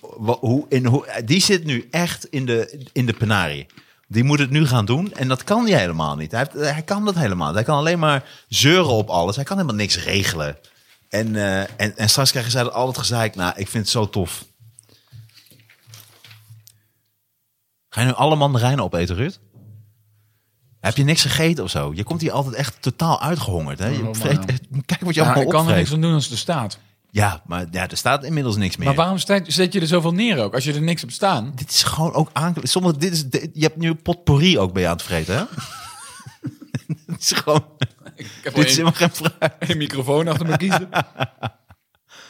[SPEAKER 3] wa- Hoe, in, hoe, eh, die zit nu echt in de, in de penarie. Die moet het nu gaan doen en dat kan hij helemaal niet. Hij, heeft- eh, hij kan dat helemaal niet. Hij kan alleen maar zeuren op alles. Hij kan helemaal niks regelen. En, eh, en, en straks krijgen zij dat altijd gezeik. Nou, ik vind het zo tof. Ga je nu alle mandarijnen opeten, Ruud? Heb je niks gegeten of zo? Je komt hier altijd echt totaal uitgehongerd. Hè? Je
[SPEAKER 4] Oh, man,
[SPEAKER 3] vreet
[SPEAKER 4] ja.
[SPEAKER 3] echt- [LAUGHS] kijk wat je
[SPEAKER 4] Ja,
[SPEAKER 3] allemaal
[SPEAKER 4] ik kan er niks
[SPEAKER 3] opvreet.
[SPEAKER 4] aan doen als het er staat.
[SPEAKER 3] Ja, maar ja, er staat inmiddels niks meer.
[SPEAKER 4] Maar waarom sta- zet je er zoveel neer ook, als je er niks hebt staan?
[SPEAKER 3] Dit is gewoon ook aankle. Sommige, dit is, dit- je hebt nu potpourri ook bij je aan het vreten, [LAUGHS] hè? dit is gewoon...
[SPEAKER 4] Ik heb
[SPEAKER 3] Dit is helemaal geen vraag.
[SPEAKER 4] een microfoon achter me kiezen.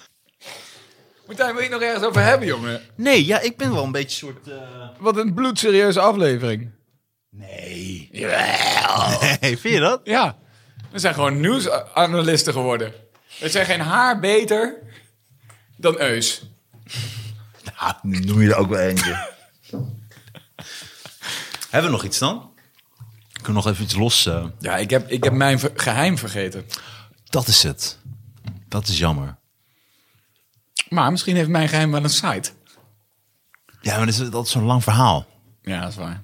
[SPEAKER 4] [LAUGHS] Martijn, wil je het nog ergens over hebben, jongen?
[SPEAKER 3] Nee, ja, ik ben wel een beetje soort... eh,
[SPEAKER 4] Wat een bloedserieuze aflevering.
[SPEAKER 3] Nee. Nee, vind je dat?
[SPEAKER 4] Ja, we zijn gewoon nieuwsanalisten geworden. We zijn geen haar beter dan Eus.
[SPEAKER 3] Ah, nu noem je er ook wel eentje. Hebben we nog iets dan? Kunnen we nog even iets los... eh,
[SPEAKER 4] Ja, ik heb, ik heb mijn ver- geheim vergeten.
[SPEAKER 3] Dat is het. Dat is jammer.
[SPEAKER 4] Maar misschien heeft mijn geheim wel een site.
[SPEAKER 3] Ja, maar dat is altijd zo'n lang verhaal.
[SPEAKER 4] Ja, dat is waar.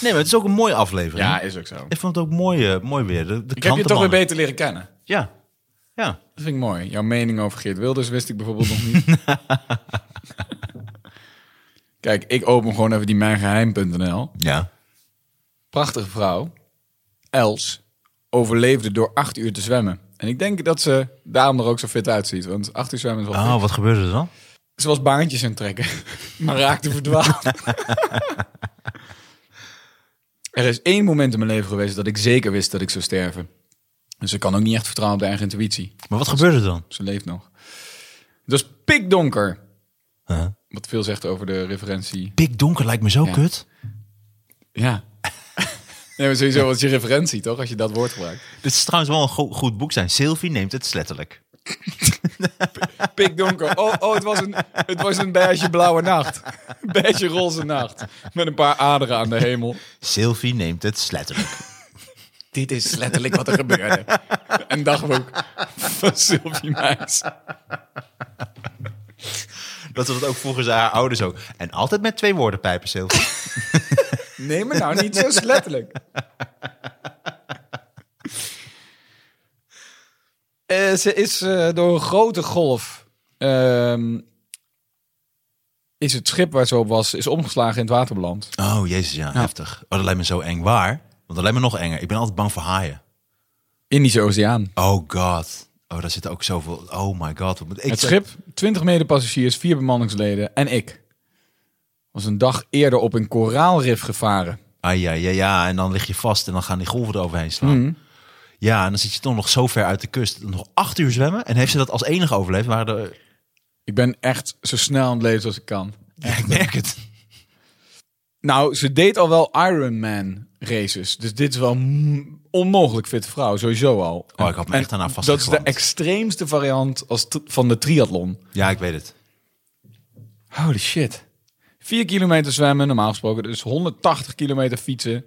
[SPEAKER 3] Nee, maar het is ook een mooie aflevering.
[SPEAKER 4] Ja, is ook zo.
[SPEAKER 3] Ik vond het ook mooi, eh, mooi weer. De, de
[SPEAKER 4] Ik heb je toch weer
[SPEAKER 3] krantenmannen.
[SPEAKER 4] beter leren kennen.
[SPEAKER 3] Ja. Ja.
[SPEAKER 4] Dat vind ik mooi. Jouw mening over Geert Wilders wist ik bijvoorbeeld nog niet. Kijk, ik open gewoon even die mijngeheim.nl.
[SPEAKER 3] Ja.
[SPEAKER 4] Prachtige vrouw. Els overleefde door acht uur te zwemmen. En ik denk dat ze daarom er ook zo fit uitziet. Want acht uur zwemmen is wel
[SPEAKER 3] Oh,
[SPEAKER 4] fit.
[SPEAKER 3] wat gebeurde er dan?
[SPEAKER 4] Ze was baantjes aan het trekken, [LAUGHS] maar raakte verdwaald. er is één moment in mijn leven geweest dat ik zeker wist dat ik zou sterven. Dus ik kan ook niet echt vertrouwen op de eigen intuïtie.
[SPEAKER 3] Maar wat gebeurde er dan?
[SPEAKER 4] Ze leeft nog. Dus pikdonker.
[SPEAKER 3] Huh?
[SPEAKER 4] Wat veel zegt over de referentie.
[SPEAKER 3] Pikdonker lijkt me zo
[SPEAKER 4] Ja.
[SPEAKER 3] kut.
[SPEAKER 4] Ja. [LAUGHS] nee, maar sowieso was je referentie, toch? Als je dat woord gebruikt.
[SPEAKER 3] Dit is trouwens wel een go- goed boek zijn. Sylvie neemt het letterlijk.
[SPEAKER 4] Pikdonker. Oh, oh het, was een, het was een beige blauwe nacht. [LAUGHS] Beige roze nacht. Met een paar aderen aan de hemel.
[SPEAKER 3] Sylvie neemt het
[SPEAKER 4] [LAUGHS]
[SPEAKER 3] letterlijk.
[SPEAKER 4] Dit is letterlijk wat er gebeurde. Een dagboek van Sylvie Meijs.
[SPEAKER 3] Dat was het ook volgens haar ouders ook. En altijd met twee woorden pijpen, Sylvie.
[SPEAKER 4] Nee, maar nou niet zo letterlijk. [LAUGHS] Eh, ze is eh, door een grote golf. ehm, is het schip waar ze op was, is omgeslagen in het waterbeland.
[SPEAKER 3] Oh, jezus, ja, heftig. Oh, dat lijkt me zo eng. Waar? Want dat lijkt me nog enger. Ik ben altijd bang voor haaien.
[SPEAKER 4] Indische Oceaan.
[SPEAKER 3] Oh god. Oh, daar zitten ook zoveel... Oh my god. Wat moet Ik
[SPEAKER 4] het schip, 20 medepassagiers, vier bemanningsleden en ik. Was een dag eerder op een koraalrif gevaren.
[SPEAKER 3] Ah ja, ja, ja. En dan lig je vast en dan gaan die golven eroverheen slaan.
[SPEAKER 4] Mhm.
[SPEAKER 3] Ja, en dan zit je toch nog zo ver uit de kust. Nog acht uur zwemmen. En heeft ze dat als enige overleefd? Waren er...
[SPEAKER 4] Ik ben echt zo snel aan het leven als ik kan.
[SPEAKER 3] Ja, ik merk het.
[SPEAKER 4] Nou, ze deed al wel Ironman races. Dus dit is wel een onmogelijk fitte vrouw, sowieso al.
[SPEAKER 3] Oh, ik had me
[SPEAKER 4] En
[SPEAKER 3] echt aan haar
[SPEAKER 4] Dat is de
[SPEAKER 3] vastgeklampt.
[SPEAKER 4] extreemste variant als t- van de triathlon.
[SPEAKER 3] Ja, ik weet het.
[SPEAKER 4] Holy shit. Vier kilometer zwemmen, normaal gesproken. Dus 180 kilometer fietsen.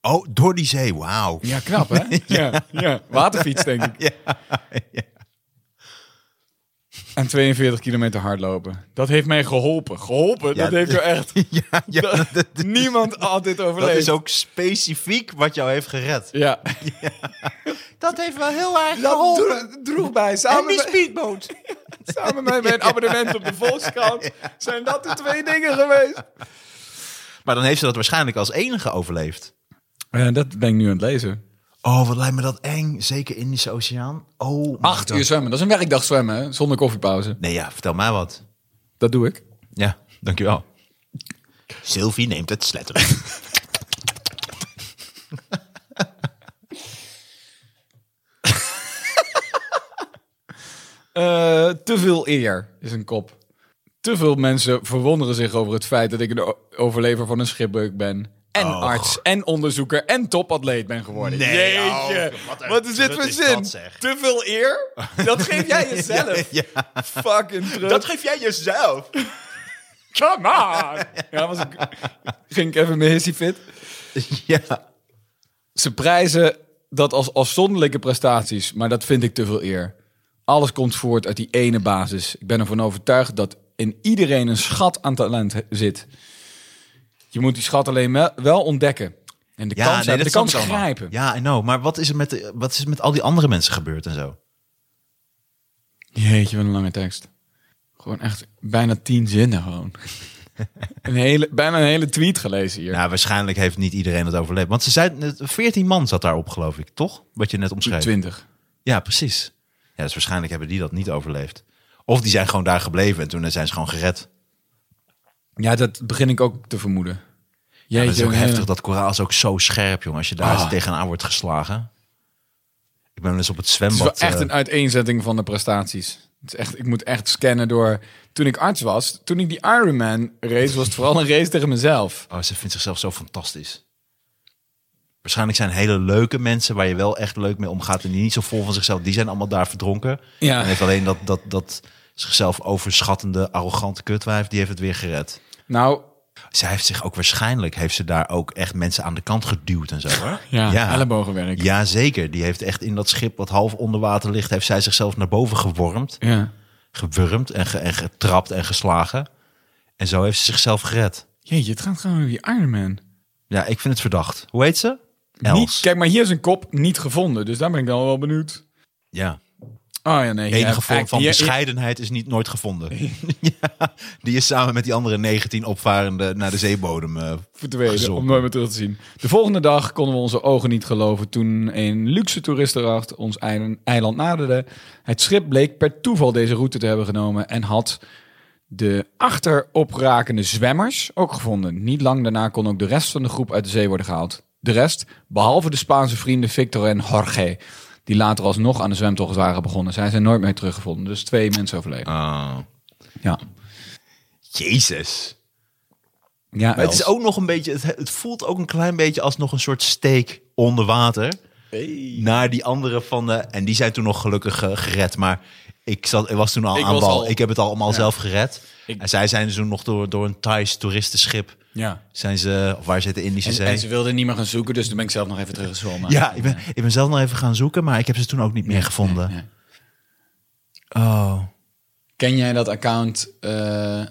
[SPEAKER 3] Oh, door die zee. [LAUGHS] Wauw.
[SPEAKER 4] Ja, knap hè? [LAUGHS] ja. Ja, waterfiets denk
[SPEAKER 3] [LAUGHS]
[SPEAKER 4] ik. En 42 kilometer hardlopen. Dat heeft mij geholpen. Geholpen?
[SPEAKER 3] Ja,
[SPEAKER 4] dat heeft jou echt...
[SPEAKER 3] Ja, [LAUGHS] ja,
[SPEAKER 4] Dat- [LAUGHS]
[SPEAKER 3] dat,
[SPEAKER 4] Niemand had dit
[SPEAKER 3] dat
[SPEAKER 4] overleefd.
[SPEAKER 3] is ook specifiek wat jou heeft gered.
[SPEAKER 4] Ja.
[SPEAKER 3] Dat heeft wel heel erg
[SPEAKER 4] Dat dro- droeg bij. Samen met-
[SPEAKER 3] speedboot.
[SPEAKER 4] [LAUGHS] Samen met mijn abonnement op de Volkskrant zijn dat de twee dingen geweest.
[SPEAKER 3] Maar dan heeft ze dat waarschijnlijk als enige overleefd.
[SPEAKER 4] dat ben ik nu aan het lezen.
[SPEAKER 3] Oh, wat lijkt me dat eng. Zeker Indische Oceaan. Oh, my
[SPEAKER 4] Acht
[SPEAKER 3] God.
[SPEAKER 4] uur zwemmen, dat is een werkdag zwemmen, hè? zonder koffiepauze.
[SPEAKER 3] Nee, ja, vertel mij wat.
[SPEAKER 4] Dat doe ik.
[SPEAKER 3] Ja, dankjewel. Sylvie neemt het [LAUGHS] sletteren.
[SPEAKER 4] Eh, te veel eer is een kop. Te veel mensen verwonderen zich over het feit dat ik een o- overlever van een schipbreuk ben. En
[SPEAKER 3] Och.
[SPEAKER 4] arts, en onderzoeker, en topatleet ben geworden.
[SPEAKER 3] Nee,
[SPEAKER 4] Jeetje,
[SPEAKER 3] oh,
[SPEAKER 4] wat,
[SPEAKER 3] wat een
[SPEAKER 4] is dit
[SPEAKER 3] trut
[SPEAKER 4] voor
[SPEAKER 3] is
[SPEAKER 4] zin?
[SPEAKER 3] dat, zeg.
[SPEAKER 4] Te veel eer? Dat geef [LAUGHS] jij jezelf. Fucking trut.
[SPEAKER 3] geef jij [LAUGHS] jezelf.
[SPEAKER 4] Come on! Ja, was ik... Ging ik even mijn hissy fit?
[SPEAKER 3] Ja.
[SPEAKER 4] Ze prijzen dat als afzonderlijke prestaties, maar dat vind ik te veel eer. Alles komt voort uit die ene basis. Ik ben ervan overtuigd dat in iedereen een schat aan talent he- zit. Je moet die schat alleen me- wel ontdekken. En de
[SPEAKER 3] Ja,
[SPEAKER 4] kans,
[SPEAKER 3] nee,
[SPEAKER 4] hebben,
[SPEAKER 3] dat
[SPEAKER 4] de
[SPEAKER 3] snap
[SPEAKER 4] kans
[SPEAKER 3] ik allemaal.
[SPEAKER 4] grijpen. Ja.
[SPEAKER 3] Ja, I know. Maar wat is, er met, de- wat is er met al die andere mensen gebeurd en zo?
[SPEAKER 4] Jeetje, wat een lange tekst. Gewoon echt bijna tien
[SPEAKER 3] [LAUGHS]
[SPEAKER 4] zinnen gewoon. een hele, bijna een hele tweet gelezen hier.
[SPEAKER 3] Nou, waarschijnlijk heeft niet iedereen het overleefd. Want ze zei, 14 man zat daarop, geloof ik, toch? Wat je net omschreef.
[SPEAKER 4] Twintig.
[SPEAKER 3] Ja, precies. Ja, dus waarschijnlijk hebben die dat niet overleefd. Of die zijn gewoon daar gebleven en toen zijn ze gewoon gered.
[SPEAKER 4] Ja, dat begin ik ook te vermoeden. Jij
[SPEAKER 3] dat is ook heftig. Dat koraal is ook zo scherp, jongen. Als je daar
[SPEAKER 4] Ah.
[SPEAKER 3] eens tegenaan wordt geslagen. Ik ben wel eens op het
[SPEAKER 4] Het is
[SPEAKER 3] zwembad.
[SPEAKER 4] wel echt
[SPEAKER 3] eh,
[SPEAKER 4] een uiteenzetting van de prestaties. Het is echt, ik moet echt scannen door... Toen ik arts was, toen ik die Ironman race, was het vooral een race tegen mezelf.
[SPEAKER 3] Oh, ze vindt zichzelf zo fantastisch. Waarschijnlijk zijn hele leuke mensen waar je wel echt leuk mee omgaat. En die niet zo vol van zichzelf. Die zijn allemaal daar verdronken.
[SPEAKER 4] Ja.
[SPEAKER 3] En heeft alleen dat, dat, dat zichzelf overschattende, arrogante kutwijf. Die heeft het weer gered.
[SPEAKER 4] Nou,
[SPEAKER 3] Zij heeft zich ook waarschijnlijk. Heeft ze daar ook echt mensen aan de kant geduwd en zo. Hoor.
[SPEAKER 4] [LAUGHS] ja, ellebogenwerk.
[SPEAKER 3] Ja, zeker. Die heeft echt in dat schip wat half onder water ligt, heeft zij zichzelf naar boven gewormd,
[SPEAKER 4] Ja.
[SPEAKER 3] gewurmd en, ge- en getrapt en geslagen. En zo heeft ze zichzelf gered.
[SPEAKER 4] Jeetje, het gaat gewoon over die Ironman.
[SPEAKER 3] Ja, ik vind het verdacht. Hoe heet ze? Els.
[SPEAKER 4] Niet, kijk, maar hier is een kop niet gevonden. Dus daar ben ik dan wel benieuwd.
[SPEAKER 3] Ja.
[SPEAKER 4] Oh ja, nee.
[SPEAKER 3] De
[SPEAKER 4] ja,
[SPEAKER 3] enige vorm van
[SPEAKER 4] ja, ja,
[SPEAKER 3] bescheidenheid is niet nooit gevonden. [LAUGHS] ja, die is samen met die andere 19 opvarenden naar de zeebodem eh,
[SPEAKER 4] verdwenen
[SPEAKER 3] gezonken.
[SPEAKER 4] om nooit meer terug te zien. De volgende dag konden we onze ogen niet geloven toen een luxe toeristenracht ons eiland, eiland naderde. Het schip bleek per toeval deze route te hebben genomen en had de achteroprakende zwemmers ook gevonden. Niet lang daarna kon ook de rest van de groep uit de zee worden gehaald. De rest, behalve de Spaanse vrienden Victor en Jorge, die later alsnog aan de zwemtocht waren begonnen. Zij zijn nooit meer teruggevonden, dus twee mensen overleden.
[SPEAKER 3] Ah,
[SPEAKER 4] Ja.
[SPEAKER 3] Jezus.
[SPEAKER 4] Ja,
[SPEAKER 3] Maar het is ook nog een beetje, het, het voelt ook een klein beetje als nog een soort steek onder water. Naar die andere van de, en die zijn toen nog gelukkig eh, gered. Maar ik, zat, ik was toen al
[SPEAKER 4] Ik
[SPEAKER 3] aan
[SPEAKER 4] was
[SPEAKER 3] wal.
[SPEAKER 4] al-
[SPEAKER 3] Ik heb het allemaal zelf gered.
[SPEAKER 4] Ik-
[SPEAKER 3] En zij zijn dus toen nog door, door een Thais toeristenschip.
[SPEAKER 4] ja.
[SPEAKER 3] Zijn ze, of waar zit de Indische
[SPEAKER 4] En,
[SPEAKER 3] Zee?
[SPEAKER 4] en ze wilden niet meer gaan zoeken, dus toen ben ik zelf nog even teruggezwommen.
[SPEAKER 3] Ja, ik ben, ik ben zelf nog even gaan zoeken, maar ik heb ze toen ook niet meer gevonden. Oh.
[SPEAKER 4] Ken jij dat account? eh,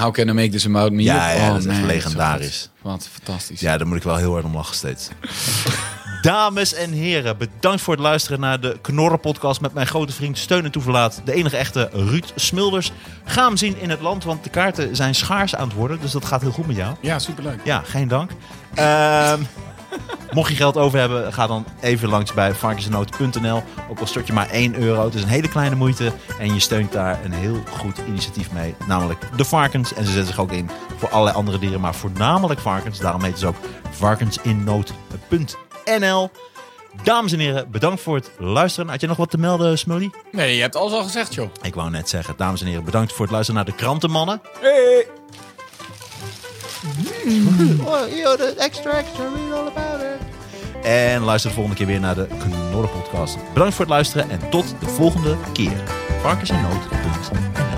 [SPEAKER 4] How can I make this about me?
[SPEAKER 3] Ja, ja,
[SPEAKER 4] Oh,
[SPEAKER 3] dat is echt
[SPEAKER 4] man,
[SPEAKER 3] legendarisch.
[SPEAKER 4] zo goed. Wat fantastisch.
[SPEAKER 3] Ja, daar moet ik wel heel hard om lachen steeds. [LAUGHS] Dames en heren, bedankt voor het luisteren naar de Knorren-podcast met mijn grote vriend Steun en Toeverlaat. De enige echte Ruud Smulders. Ga hem zien in het land, want de kaarten zijn schaars aan het worden. Dus dat gaat heel goed met jou.
[SPEAKER 4] Ja, superleuk.
[SPEAKER 3] Ja, geen dank. Ehm, [LAUGHS] mocht je geld over hebben, ga dan even langs bij varkensnoot.nl. Ook al stort je maar 1 euro, het is een hele kleine moeite. En je steunt daar een heel goed initiatief mee, namelijk de varkens. En ze zetten zich ook in voor allerlei andere dieren, maar voornamelijk varkens. Daarom heet ze ook varkensinnood.nl. Dames en heren, bedankt voor het luisteren. Had je nog wat te melden, Smully?
[SPEAKER 4] Nee, je hebt alles al gezegd, joh.
[SPEAKER 3] Ik wou net zeggen, dames en heren, bedankt voor het luisteren naar de krantenmannen.
[SPEAKER 4] Hey.
[SPEAKER 3] En luister de volgende keer weer naar de Knorren Podcast. Bedankt voor het luisteren en tot de volgende keer. Varkensinoot.nl